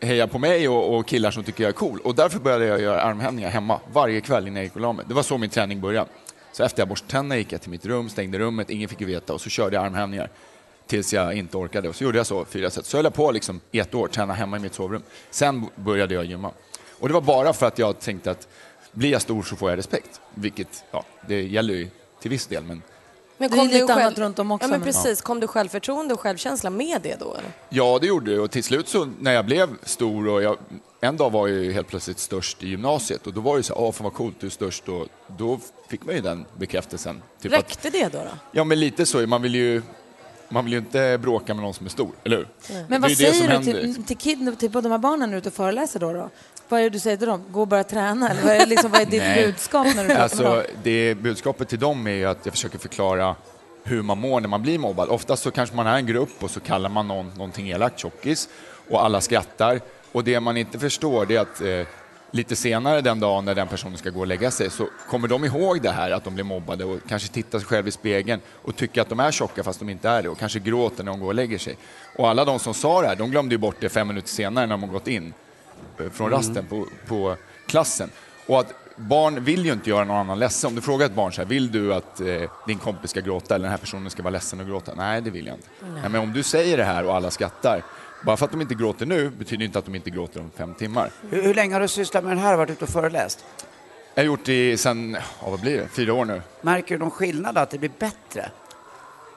[SPEAKER 17] hejar på mig och, och killar som tycker jag är cool. Och därför började jag göra armhävningar hemma varje kväll innan jag gick och la mig. Det var så min träning började. Så efter jag borstat tänderna gick jag till mitt rum, stängde rummet, ingen fick ju veta och så körde jag armhävningar tills jag inte orkade. Och så gjorde jag så fyra set. Så höll jag på liksom i ett år, träna hemma i mitt sovrum. Sen började jag gymma. Och det var bara för att jag tänkte att blir jag stor så får jag respekt. Vilket, ja, det gäller ju till viss del men
[SPEAKER 5] Men
[SPEAKER 2] Det är lite annat runt om också,
[SPEAKER 5] Ja, men
[SPEAKER 2] men-
[SPEAKER 5] precis. Kom du självförtroende och självkänsla med det då? Eller?
[SPEAKER 17] Ja, det gjorde det. Och till slut så när jag blev stor och jag, en dag var jag ju helt plötsligt störst i gymnasiet och då var det ju så här, ah, fan vad coolt, du är störst och då fick man ju den bekräftelsen. Typ att-
[SPEAKER 5] Räckte det då? då?
[SPEAKER 17] Ja, men lite så. Man vill ju, man vill ju inte bråka med någon som är stor, eller hur? Det är
[SPEAKER 2] Men vad
[SPEAKER 17] ju det som
[SPEAKER 2] säger du
[SPEAKER 17] händer, liksom.
[SPEAKER 2] till, till, kid, till de här barnen när du är ute och föreläser då, då? Vad är det du säger till dem? Gå och börja träna? Eller vad är, liksom, vad är ditt
[SPEAKER 17] Nej.
[SPEAKER 2] budskap när du pratar med dem?
[SPEAKER 17] alltså, det Budskapet till dem är ju att jag försöker förklara hur man mår när man blir mobbad. Oftast så kanske man är en grupp och så kallar man någon någonting elakt, tjockis, och alla skrattar. Och det man inte förstår det är att eh, lite senare den dagen när den personen ska gå och lägga sig så kommer de ihåg det här att de blir mobbade och kanske tittar sig själv i spegeln och tycker att de är tjocka fast de inte är det och kanske gråter när de går och lägger sig. Och alla de som sa det här, de glömde ju bort det fem minuter senare när de har gått in eh, från
[SPEAKER 4] Mm.
[SPEAKER 17] rasten på, på klassen. Och att barn vill ju inte göra någon annan ledsen. Om du frågar ett barn så här, vill du att eh, din kompis ska gråta eller den här personen ska vara ledsen och gråta? Nej, det vill jag inte.
[SPEAKER 4] Nej.
[SPEAKER 17] Nej. men om du säger det här och alla skrattar, bara för att de inte gråter nu betyder inte att de inte gråter om fem timmar.
[SPEAKER 4] hur, hur länge har du sysslat med den här och varit ute och föreläst?
[SPEAKER 17] Jag har gjort det sen, ja, vad blir det, fyra år nu.
[SPEAKER 4] Märker du någon skillnad att det blir bättre?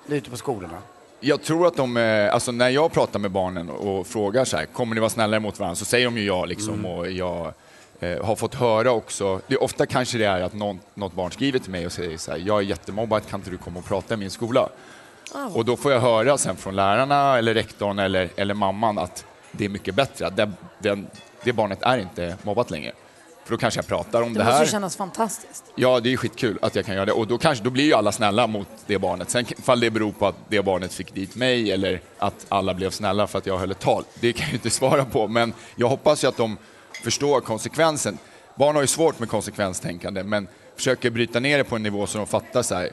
[SPEAKER 4] Du är ute på skolorna.
[SPEAKER 17] Jag tror att de, eh, alltså när jag pratar med barnen och och frågar så här, kommer ni vara snällare mot varandra? Så säger de ju ja liksom
[SPEAKER 4] Mm.
[SPEAKER 17] och jag eh, har fått höra också, det är ofta kanske det är att någon, något barn skriver till mig och säger så här, jag är jättemobbad, kan inte du komma och prata i min skola? Och då får jag höra sen från lärarna eller rektorn eller, eller mamman att det är mycket bättre, att den, den, det barnet är inte mobbat längre. För då kanske jag pratar om det,
[SPEAKER 2] Det måste
[SPEAKER 17] här.
[SPEAKER 2] ju kännas fantastiskt.
[SPEAKER 17] Ja, det är skitkul att jag kan göra det. Och då, kanske, då blir ju alla snälla mot det barnet. Sen ifall det beror på att det barnet fick dit mig eller att alla blev snälla för att jag höll ett tal, det kan jag ju inte svara på. Men jag hoppas ju att de förstår konsekvensen. Barn har ju svårt med konsekvenstänkande, men försöker bryta ner det på en nivå så de fattar så här,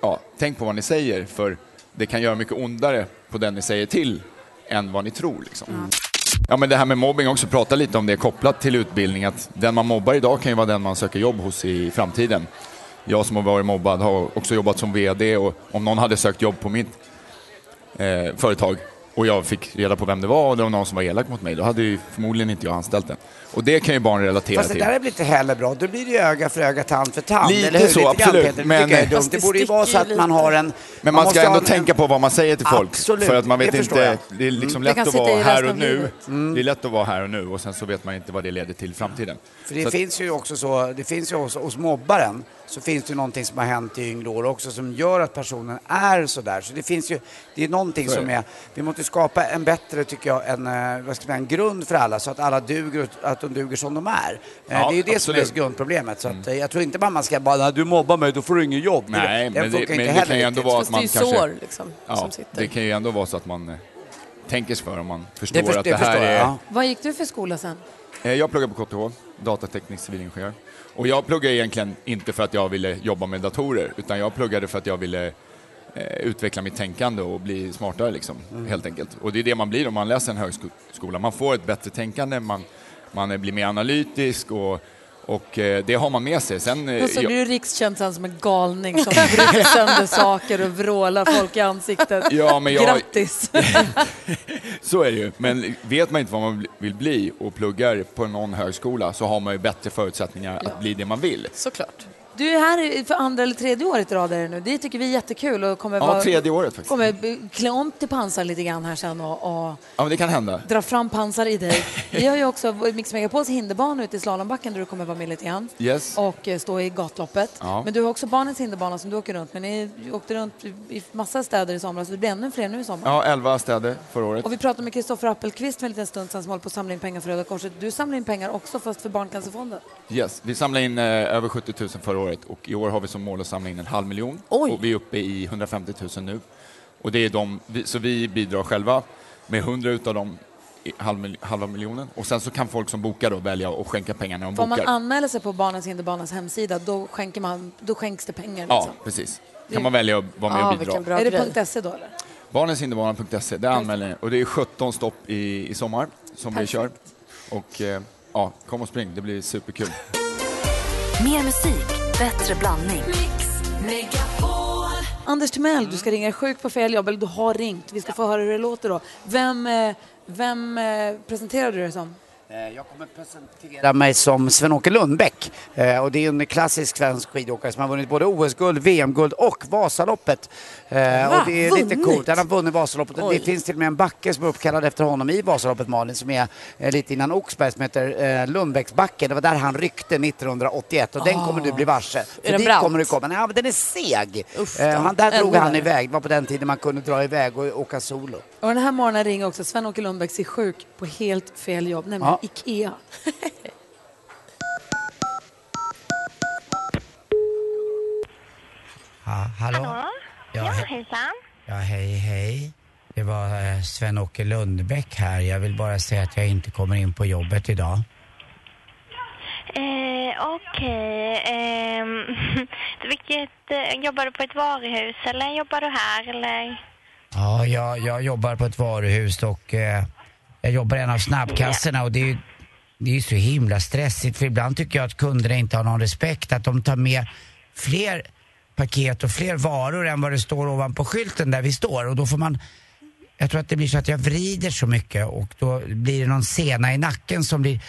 [SPEAKER 17] ja, tänk på vad ni säger för det kan göra mycket ondare på den ni säger till än vad ni tror. Liksom. Ja, men det här med mobbing också, prata lite om det kopplat till utbildning. Att den man mobbar idag kan ju vara den man söker jobb hos i framtiden. Jag som har varit mobbad har också jobbat som VD och om någon hade sökt jobb på mitt eh, företag och jag fick reda på vem det var och det var någon som var elak mot mig, då hade ju förmodligen inte jag anställt den. Och det kan ju barn relatera
[SPEAKER 4] Fast det
[SPEAKER 17] till.
[SPEAKER 4] där blir inte heller bra. Då blir det ju öga för öga, tand för tand.
[SPEAKER 17] Lite
[SPEAKER 4] eller hur?
[SPEAKER 17] så,
[SPEAKER 4] grann,
[SPEAKER 17] absolut,
[SPEAKER 4] Peter. Det
[SPEAKER 17] men-
[SPEAKER 4] tycker jag är dumt.
[SPEAKER 17] Fast
[SPEAKER 4] Det
[SPEAKER 17] det
[SPEAKER 4] borde ju vara så
[SPEAKER 17] sticker
[SPEAKER 4] att
[SPEAKER 17] ju
[SPEAKER 4] man
[SPEAKER 17] lite.
[SPEAKER 4] har en...
[SPEAKER 17] Men man,
[SPEAKER 4] måste
[SPEAKER 17] ska ändå
[SPEAKER 4] ha en-
[SPEAKER 17] tänka på vad man säger till folk.
[SPEAKER 4] Absolut,
[SPEAKER 17] För att man vet
[SPEAKER 4] det
[SPEAKER 17] inte,
[SPEAKER 4] förstår jag.
[SPEAKER 17] det är liksom lätt
[SPEAKER 4] Mm. Det kan
[SPEAKER 17] att
[SPEAKER 4] sitta i
[SPEAKER 17] vara här
[SPEAKER 4] resten
[SPEAKER 17] och
[SPEAKER 4] av
[SPEAKER 17] nu.
[SPEAKER 4] livet.
[SPEAKER 17] Det är lätt att vara här och nu och sen så vet man inte vad det leder till i framtiden.
[SPEAKER 4] För det
[SPEAKER 17] Så att-
[SPEAKER 4] finns ju också så, det finns ju hos, hos mobbaren, så finns det ju någonting som har hänt i yngre år också som gör att personen är sådär. Så det finns ju, det är någonting
[SPEAKER 17] Så är
[SPEAKER 4] som
[SPEAKER 17] det.
[SPEAKER 4] är, vi måste skapa en bättre, tycker jag, en, eh, vad ska man säga, en grund för alla så att alla duger, och- att de duger som de är. Eh,
[SPEAKER 17] Ja,
[SPEAKER 4] det är ju det som
[SPEAKER 17] absolut. Mm.
[SPEAKER 4] är grundproblemet. Så att, eh, jag tror inte bara man ska bara, "Nej, du mobbar mig, då får du inget jobb.
[SPEAKER 17] Nej,
[SPEAKER 4] Den
[SPEAKER 17] men det,
[SPEAKER 4] funkar
[SPEAKER 17] men
[SPEAKER 4] inte
[SPEAKER 17] det
[SPEAKER 4] heller
[SPEAKER 17] kan ju ändå
[SPEAKER 4] riktigt.
[SPEAKER 17] vara att
[SPEAKER 4] Fast det
[SPEAKER 17] man
[SPEAKER 4] är ju
[SPEAKER 17] kanske...
[SPEAKER 4] sår, liksom, som sitter.
[SPEAKER 17] Det kan ju ändå vara så att man eh, tänker sig för om man förstår
[SPEAKER 4] först-
[SPEAKER 17] att
[SPEAKER 4] det
[SPEAKER 17] det här
[SPEAKER 4] förstår jag,
[SPEAKER 17] är...
[SPEAKER 4] ja.
[SPEAKER 2] Vad gick du för skola sen?
[SPEAKER 17] Eh, Jag pluggar på KTH, datateknisk civilingenjör. Och jag pluggade egentligen inte för att jag ville jobba med datorer, utan jag pluggade för att jag ville eh, utveckla mitt tänkande och bli smartare liksom,
[SPEAKER 4] Mm.
[SPEAKER 17] helt enkelt. Och det är det man blir om man läser en högskola. Man får ett bättre tänkande, man, man eh, blir mer analytisk och, och eh, det har man med sig. Sen, eh,
[SPEAKER 2] Och så
[SPEAKER 17] jag-
[SPEAKER 2] blir Alltså, du rikskänd sen som en galning som bryter sönder saker och vrålar folk i ansiktet.
[SPEAKER 17] Ja, men jag-
[SPEAKER 2] Grattis!
[SPEAKER 17] Så är det ju. Men vet man inte vad man vill bli och pluggar på någon högskola så har man ju bättre förutsättningar att bli det man vill.
[SPEAKER 2] Såklart. Du är här i- för andra eller tredje året i rad är det nu. Det tycker vi är jättekul. Och kommer
[SPEAKER 17] Ja,
[SPEAKER 2] vara,
[SPEAKER 17] tredje året faktiskt.
[SPEAKER 2] Kommer b- klä om till pansar lite grann här sen och, och
[SPEAKER 17] Ja, men det kan hända.
[SPEAKER 2] dra fram pansar i dig. Vi har ju också Mix Megapols hinderbana ute i slalombacken där du kommer vara med lite grann.
[SPEAKER 17] Yes.
[SPEAKER 2] Och eh, stå i gatloppet.
[SPEAKER 17] Ja.
[SPEAKER 2] Men du har också barnens hinderbana som du åker runt med. Ni åkte runt i- i massa städer i somras och det blir ännu fler nu i sommar.
[SPEAKER 17] Ja, 11 städer förra året.
[SPEAKER 2] Och vi pratade med Kristoffer Appelqvist för en liten stund sedan som håller på att samla in pengar för Röda Korset. Du samlar in pengar också fast för Barncancerfonden.
[SPEAKER 17] Yes. Vi samlade in eh, över 70 000 förra året och i år har vi som mål att samla in en halv miljon. Och vi är uppe i 150 000 nu. Och det är de, vi, så vi bidrar själva med 100 utav dem i halv, mil- halva miljonen. Och sen så kan folk som bokar då välja att skänka pengar när de
[SPEAKER 2] För om man
[SPEAKER 17] bokar.
[SPEAKER 2] anmäler sig på Barnens hinderbanas hemsida då, skänker man, då skänks det pengar.
[SPEAKER 17] ja,
[SPEAKER 2] Liksom.
[SPEAKER 17] precis.
[SPEAKER 2] Det-
[SPEAKER 17] Kan man välja att vara med och bidra.
[SPEAKER 2] är det .se då eller?
[SPEAKER 17] Barnenshinderbanan.se, E, där anmäler ni. Och det är 17 stopp i, i sommar som
[SPEAKER 7] Perfekt.
[SPEAKER 17] vi kör. Och eh, ja, kom och spring, det blir superkul.
[SPEAKER 7] Mer musik, bättre blandning. Mix Megapol.
[SPEAKER 2] Anders Timell, du ska ringa dig sjuk på fel jobb, eller du har ringt. Vi ska få höra hur det låter då. Vem, eh, vem eh, presenterar du dig som?
[SPEAKER 4] Eh, Jag kommer presentera mig som Sven-Åke Lundbäck. Eh, och det är en klassisk svensk skidåkare som har vunnit både OS-guld, VM-guld och Vasaloppet. Eh, och det är lite
[SPEAKER 9] Vunnit?
[SPEAKER 4] coolt. Han har vunnit Vasaloppet.
[SPEAKER 9] Oj.
[SPEAKER 4] Det finns till och med en backe som är uppkallad efter honom i Vasaloppet, Malin, som är eh, lite innan Oxberg, som heter eh, Lundbäcksbacken. Det var där han ryckte 1981 och den
[SPEAKER 9] Ah.
[SPEAKER 4] kommer du bli varse. För
[SPEAKER 9] den
[SPEAKER 4] dit
[SPEAKER 9] brant?
[SPEAKER 4] kommer du komma. Nej, men den är seg.
[SPEAKER 2] Uff,
[SPEAKER 4] Eh,
[SPEAKER 2] då.
[SPEAKER 4] han, där drog
[SPEAKER 2] Ännu
[SPEAKER 4] han
[SPEAKER 2] värre.
[SPEAKER 4] iväg. Det var på den tiden man kunde dra iväg och åka solo.
[SPEAKER 2] Och den här morgonen ringer också Sven-Åke Lundbäck sig sjuk på helt fel jobb, nämligen
[SPEAKER 4] Ja.
[SPEAKER 2] IKEA.
[SPEAKER 18] Ja, hallå? Ja, he-
[SPEAKER 19] hejsan.
[SPEAKER 18] ja, hej, hej. Det var eh, Sven-Åke Lundbäck här. Jag vill bara säga att jag inte kommer in på jobbet idag.
[SPEAKER 19] Eh, Okej. ehm, vilket, eh, jobbar du på ett varuhus eller jobbar du här eller?
[SPEAKER 18] Ja, jag, jag jobbar på ett varuhus och eh, jag jobbar i en av snabbkassorna och det är ju det är ju så himla stressigt för ibland tycker jag att kunderna inte har någon respekt att de tar med fler paket och fler varor än vad det står ovanpå skylten där vi står och då får man jag tror att det blir så att jag vrider så mycket och då blir det någon sena i nacken som blir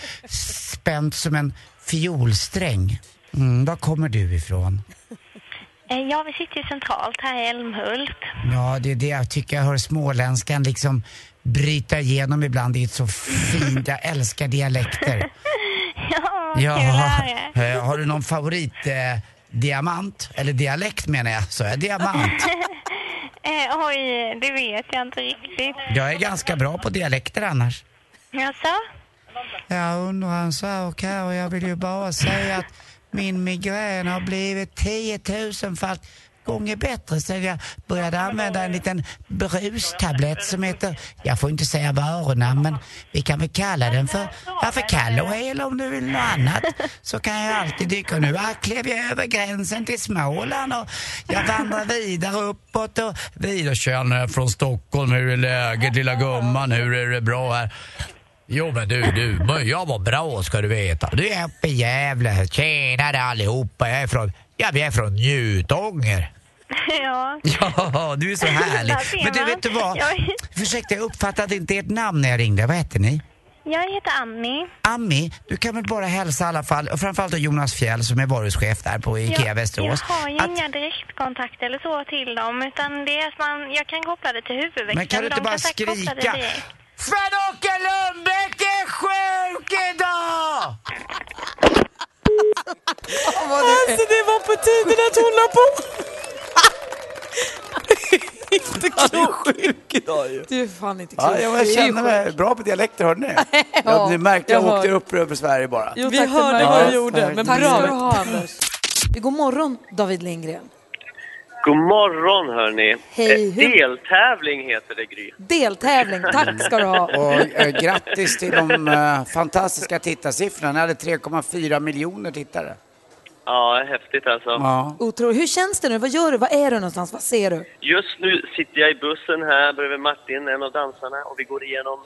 [SPEAKER 18] spänd som en fiolsträng. Mm, var kommer du ifrån?
[SPEAKER 19] Eh, ja, vi sitter ju centralt här i Älmhult.
[SPEAKER 18] Ja, det är det jag tycker jag hör småländskan liksom bryta igenom ibland. Det är så fint, jag älskar dialekter.
[SPEAKER 19] ja, vad
[SPEAKER 18] Ja,
[SPEAKER 19] kul att höra.
[SPEAKER 18] eh, har du någon favorit eh, diamant? Eller dialekt menar jag, så jag diamant.
[SPEAKER 19] eh, oj, det vet jag inte riktigt.
[SPEAKER 18] Jag är ganska bra på dialekter annars.
[SPEAKER 19] Jaså?
[SPEAKER 18] Jag undrar en sak här och jag vill ju bara säga att min migrän har blivit 10 000 fall gånger bättre sen jag började använda en liten brustablett som heter, jag får inte säga varunamn men vi kan väl kalla den för, ja för Calloway eller om du vill något annat så kan jag alltid dyka. Och Nu ah, klev jag över gränsen till Småland och jag vandrar vidare uppåt och vidare. Tjena jag är från Stockholm, hur är läget lilla gumman, hur är det bra här? Jo men du, du, men jag var bra ska du veta. Du är uppe i Gävle. Tjenare allihopa, jag är från, ja, vi är från Njutånger.
[SPEAKER 19] ja.
[SPEAKER 18] Ja, du är så härlig.
[SPEAKER 19] Där ser
[SPEAKER 18] Men du,
[SPEAKER 19] man.
[SPEAKER 18] vet du vad?
[SPEAKER 19] Jag,
[SPEAKER 18] Ursäkta, jag uppfattade inte ert namn när jag ringde. Vad heter ni?
[SPEAKER 19] jag heter Annie.
[SPEAKER 18] Ami, du kan väl bara hälsa i alla fall, och framförallt då Jonas Fjäll som är varuchef där på IKEA
[SPEAKER 19] jag, jag
[SPEAKER 18] Västerås.
[SPEAKER 19] har ju inga direktkontakter eller så till dem, utan det är att man, jag kan koppla det till huvudväxeln.
[SPEAKER 18] Men kan du
[SPEAKER 19] de
[SPEAKER 18] inte bara
[SPEAKER 19] säkert koppla det
[SPEAKER 18] skrika?
[SPEAKER 19] direkt.
[SPEAKER 18] Sven-Åke Lundbäck är sjuk idag!
[SPEAKER 2] Alltså det var på tiden att hon la på. inte klokt.
[SPEAKER 4] är sjuk idag ju.
[SPEAKER 2] Du är fan inte klok.
[SPEAKER 4] Ja, jag känner mig bra på dialekter, hörde ni? ja, ni märkte, jag,
[SPEAKER 2] jag
[SPEAKER 4] åkte
[SPEAKER 2] hör.
[SPEAKER 4] upp över Sverige bara.
[SPEAKER 2] Jo, Vi tack, det hörde märktes. vad du gjorde, men
[SPEAKER 4] Tack
[SPEAKER 2] bra.
[SPEAKER 4] ska du
[SPEAKER 2] ha, Anders. God morgon David Lindgren.
[SPEAKER 11] God morgon hörni!
[SPEAKER 2] Hej,
[SPEAKER 11] Eh,
[SPEAKER 2] hur-
[SPEAKER 11] Deltävling heter det Gry.
[SPEAKER 2] Deltävling, tack ska du ha.
[SPEAKER 4] Och eh, grattis till de eh, fantastiska tittarsiffrorna. Ni hade 3,4 miljoner tittare.
[SPEAKER 11] Ja, häftigt alltså.
[SPEAKER 4] Ja.
[SPEAKER 2] Otroligt. Hur känns det nu? Vad gör du? Vad är du någonstans? Vad ser du?
[SPEAKER 11] Just nu sitter jag i bussen här bredvid Martin, en av dansarna, och vi går igenom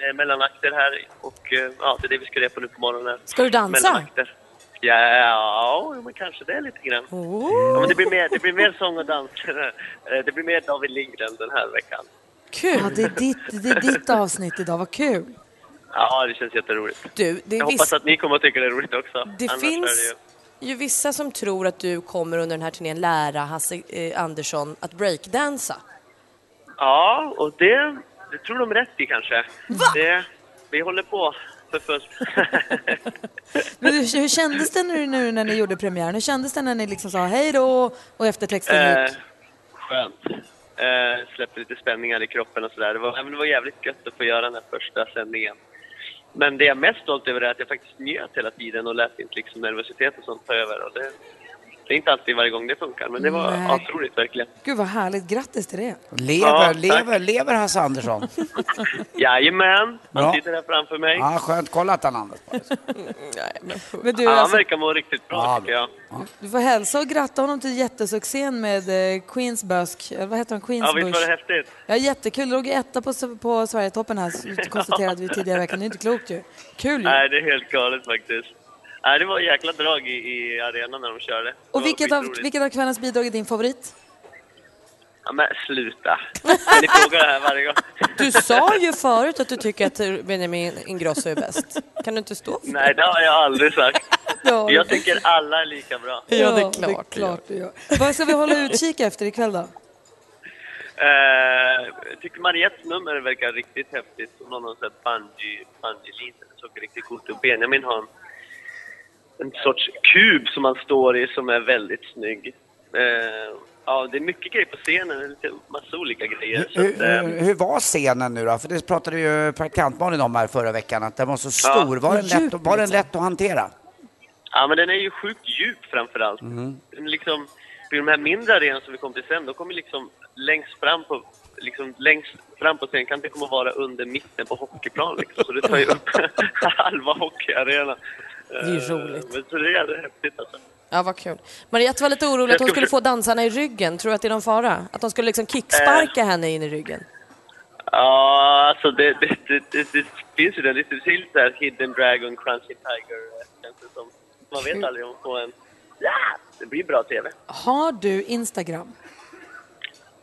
[SPEAKER 11] eh, mellanakter här. Och eh, ja, det är det vi ska repa nu på morgonen.
[SPEAKER 2] Ska du dansa?
[SPEAKER 11] Mellanakter. Ja, ja, men kanske det lite grann. Ja, men det, blir mer, det blir mer sång och dans. Eh, Det blir mer David Lindgren den här veckan.
[SPEAKER 2] Kul! Ja, det, är ditt, det är ditt avsnitt idag, vad kul.
[SPEAKER 11] Ja, det känns jätteroligt.
[SPEAKER 5] Du, det är
[SPEAKER 11] jag hoppas
[SPEAKER 5] viss-
[SPEAKER 11] att ni kommer att tycka det är roligt också.
[SPEAKER 5] Det
[SPEAKER 11] Annars är det
[SPEAKER 5] finns
[SPEAKER 11] ju...
[SPEAKER 5] ju vissa som tror att du kommer under den här turnén lära Hasse eh, Andersson att breakdansa.
[SPEAKER 11] Ja, och det, det tror de rätt i kanske. Det, vi håller på för fullt.
[SPEAKER 2] Men hur, hur kändes det nu, nu när ni gjorde premiären? Hur kändes det när ni liksom sa hej då och eftertexten
[SPEAKER 11] eh,
[SPEAKER 2] gick?
[SPEAKER 11] skönt. Eh, släppte lite spänningar i kroppen och sådär. Det, var- men det var jävligt gött att få göra den här första sändningen. Men det jag är mest stolt över är att jag faktiskt njöt hela tiden och lät inte liksom nervositet och sånt ta över. Och det, det är inte alltid varje gång det funkar, men det var
[SPEAKER 2] Nej.
[SPEAKER 11] asroligt verkligen.
[SPEAKER 2] Gud vad härligt, grattis till det.
[SPEAKER 4] Lever,
[SPEAKER 11] Ja, tack.
[SPEAKER 4] lever, lever Hasse Andersson?
[SPEAKER 11] Jajamän!
[SPEAKER 4] Bra.
[SPEAKER 11] Han sitter här framför mig.
[SPEAKER 4] Ja, skönt. Kolla att han andas.
[SPEAKER 2] Mm, Men du,
[SPEAKER 11] Ja, han
[SPEAKER 2] alltså-
[SPEAKER 11] verkar må riktigt bra tycker jag.
[SPEAKER 2] Du får hälsa och gratta honom till jättesuccén med eh, Queens Busk. Eller vad heter hon? Queens
[SPEAKER 11] Ja, visst var
[SPEAKER 2] Bush.
[SPEAKER 11] det häftigt?
[SPEAKER 2] Ja, jättekul. Låg etta på, på Sverigetoppen här, så konstaterade vi tidigare i veckan. Det är inte klokt ju. Kul ju.
[SPEAKER 11] Nej, det är helt galet faktiskt. Nej, det var jäkla drag i, i arenan när de körde. Det var
[SPEAKER 2] Och vilket av,
[SPEAKER 11] skitroligt.
[SPEAKER 2] vilket av kvällens bidrag är din favorit?
[SPEAKER 11] Ja, men sluta! Kan Ni frågar det här varje gång.
[SPEAKER 5] Du sa ju förut att du tycker att Benjamin Ingrosso är bäst. Kan du inte stå för
[SPEAKER 11] Nej, det har jag aldrig sagt.
[SPEAKER 2] Ja.
[SPEAKER 11] Jag tycker alla är lika bra.
[SPEAKER 2] Det är klart du gör. Vad ska vi hålla utkik efter ikväll då?
[SPEAKER 11] Eh, jag tycker Mariettes nummer verkar riktigt häftigt. Hon har någon sån här bungee, bungee-linje. Det såg riktigt coolt ut. Benjamin har en, en sorts kub som han står i som är väldigt snygg. Eh, ja, det är mycket grejer på scenen. Det är lite massa olika grejer. Så
[SPEAKER 4] Hur,
[SPEAKER 11] att, eh,
[SPEAKER 4] hur, hur var scenen nu då? För det pratade ju praktikantbarnen om här förra veckan, att den var så stor. Var den lätt, var den lätt att hantera?
[SPEAKER 11] Ja, men den är ju sjukt djup framför allt. Den liksom, vid de här mindre arenorna som vi kom till sen, de kommer liksom längst fram på liksom längst fram på scenkanten kommer vara under mitten på hockeyplan liksom. Så det tar ju upp halva hockeyarenan. Det
[SPEAKER 5] är ju roligt.
[SPEAKER 11] Men så det är jävligt häftigt alltså.
[SPEAKER 5] Ja, vad kul. Mariette var lite orolig att hon skulle få dansarna i ryggen. Tror du att det är någon fara? Att de skulle liksom kicksparka henne in i ryggen?
[SPEAKER 11] Ja, alltså det, det, det, det, det finns ju den lite till så här Hidden Dragon, Crunchy Tiger eh, känns det som. Man
[SPEAKER 5] Mm.
[SPEAKER 11] vet aldrig om man får en... Ja! Det blir bra TV.
[SPEAKER 2] Har du Instagram?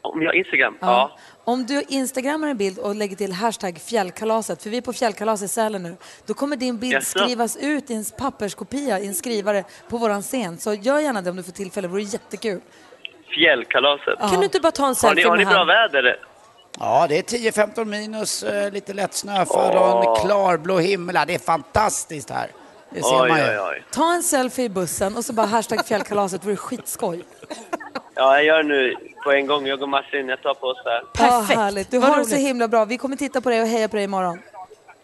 [SPEAKER 11] Om jag har Instagram?
[SPEAKER 2] Ja.
[SPEAKER 11] ja.
[SPEAKER 2] Om du instagrammar en bild och lägger till hashtag fjällkalaset, för vi är på fjällkalas i Sälen nu, då kommer din bild
[SPEAKER 11] Jaså?
[SPEAKER 2] skrivas ut i en papperskopia, i en skrivare, på våran scen. Så gör gärna det om du får tillfälle, det vore jättekul.
[SPEAKER 11] Fjällkalaset.
[SPEAKER 2] Kan du inte bara ta en
[SPEAKER 11] har ni,
[SPEAKER 2] selfie
[SPEAKER 11] har ni
[SPEAKER 2] med
[SPEAKER 11] bra
[SPEAKER 2] han?
[SPEAKER 11] väder?
[SPEAKER 4] Ja, det är 10-15 minus, eh, lite lätt snöfall och en
[SPEAKER 11] Åh.
[SPEAKER 4] klarblå himmel. Ja, Det är fantastiskt här. Det ser
[SPEAKER 11] Oj,
[SPEAKER 4] man ju.
[SPEAKER 11] oj, oj.
[SPEAKER 2] Ta en selfie i bussen och så bara hashtag fjällkalaset, det vore skitskoj.
[SPEAKER 11] Ja, jag gör nu på en gång. Jag och Martin, jag tar på oss det här.
[SPEAKER 2] Perfekt! härligt. Du har det så himla bra. Vi kommer titta på dig och heja på dig imorgon.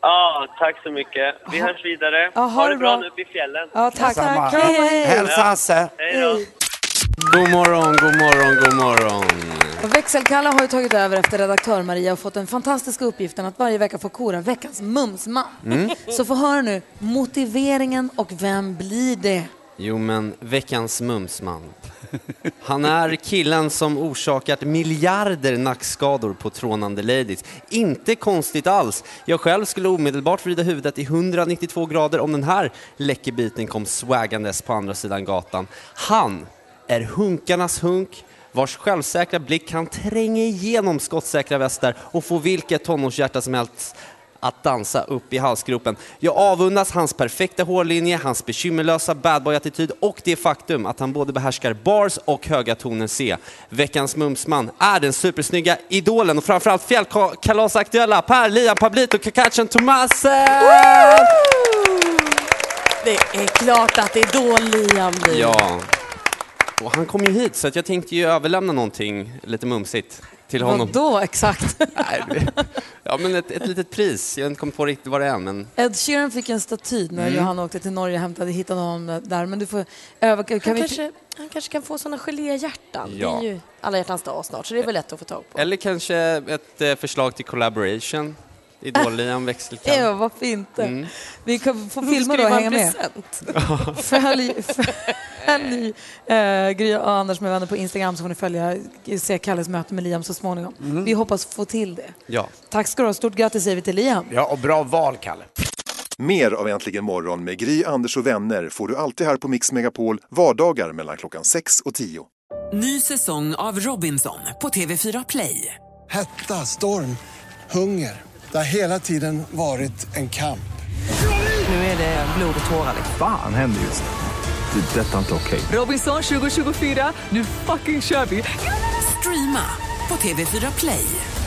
[SPEAKER 11] Ja, tack så mycket. Vi hörs vidare.
[SPEAKER 2] Ja, ha
[SPEAKER 11] ha
[SPEAKER 2] det
[SPEAKER 11] det bra
[SPEAKER 2] bra.
[SPEAKER 11] nu uppe i fjällen.
[SPEAKER 2] Ja, tack.
[SPEAKER 4] Detsamma.
[SPEAKER 2] Tack. Hej, hej.
[SPEAKER 4] Hälsa Hasse.
[SPEAKER 11] Hej då.
[SPEAKER 3] God morgon, god morgon, god morgon.
[SPEAKER 2] Och Växelkalla har ju tagit över efter redaktör Maria och fått den fantastiska uppgiften att varje vecka få kora veckans mumsman.
[SPEAKER 3] Mm.
[SPEAKER 2] Så få höra nu motiveringen och vem blir det?
[SPEAKER 3] Jo, men veckans mumsman. Han är killen som orsakat miljarder nackskador på trånande ladies. Inte konstigt alls. Jag själv skulle omedelbart vrida huvudet i 192 grader om den här läckerbiten kom swaggandes på andra sidan gatan. Han är hunkarnas hunk vars självsäkra blick kan tränga igenom skottsäkra västar och få vilket tonårshjärta som helst att dansa upp i halsgropen. Jag avundas hans perfekta hårlinje, hans bekymmerlösa badboy-attityd och det faktum att han både behärskar bars och höga toner C. Veckans mumsman är den supersnygga idolen och framförallt fjällkalasaktuella Per Liam Pablito Kakacen Tomase!
[SPEAKER 5] Det är klart att det är då Liam blir.
[SPEAKER 3] Ja. Och han kom ju hit så att jag tänkte ju överlämna någonting lite mumsigt till honom.
[SPEAKER 2] Vadå exakt?
[SPEAKER 3] Ja men ett, ett litet pris, jag har inte kommit på riktigt vad det är men
[SPEAKER 2] Ed Sheeran fick en staty när
[SPEAKER 3] Mm.
[SPEAKER 2] Johanna åkte till Norge och hämtade, hittade honom där. Men du får öva. Kan
[SPEAKER 5] Han,
[SPEAKER 2] vi-
[SPEAKER 5] kanske, han kanske kan få såna geléhjärtan. Det
[SPEAKER 3] Ja.
[SPEAKER 5] är ju alla hjärtans dag snart, så det är väl lätt att få tag på.
[SPEAKER 3] Eller kanske ett eh, förslag till collaboration. Idol-Liam växelkall.
[SPEAKER 2] Ja, varför inte?
[SPEAKER 3] Mm.
[SPEAKER 2] Vi kan få
[SPEAKER 5] Hon
[SPEAKER 2] filma
[SPEAKER 5] skulle
[SPEAKER 2] då och
[SPEAKER 5] vara
[SPEAKER 2] hänga
[SPEAKER 5] en
[SPEAKER 2] med. Följ, följ eh, Gry och Anders med vänner på Instagram så får ni följa, se Kalles möte med Liam så småningom.
[SPEAKER 4] Mm.
[SPEAKER 2] Vi hoppas få till det.
[SPEAKER 3] Ja.
[SPEAKER 2] Tack ska du ha. Stort grattis säger vi till Liam.
[SPEAKER 4] Ja, och bra val, Kalle.
[SPEAKER 20] Mer av Äntligen morgon med Gry, Anders och vänner får du alltid här på Mix Megapol vardagar mellan klockan 6 och 10.
[SPEAKER 21] Ny säsong av Robinson på TV4 Play.
[SPEAKER 22] Hetta, storm, hunger. Det har hela tiden varit en kamp.
[SPEAKER 21] Nu är det blod och tårar.
[SPEAKER 23] Fan händer just nu. Det. är Detta är inte okej.
[SPEAKER 21] Robinson 2024, nu fucking kör vi! Streama på TV4 Play.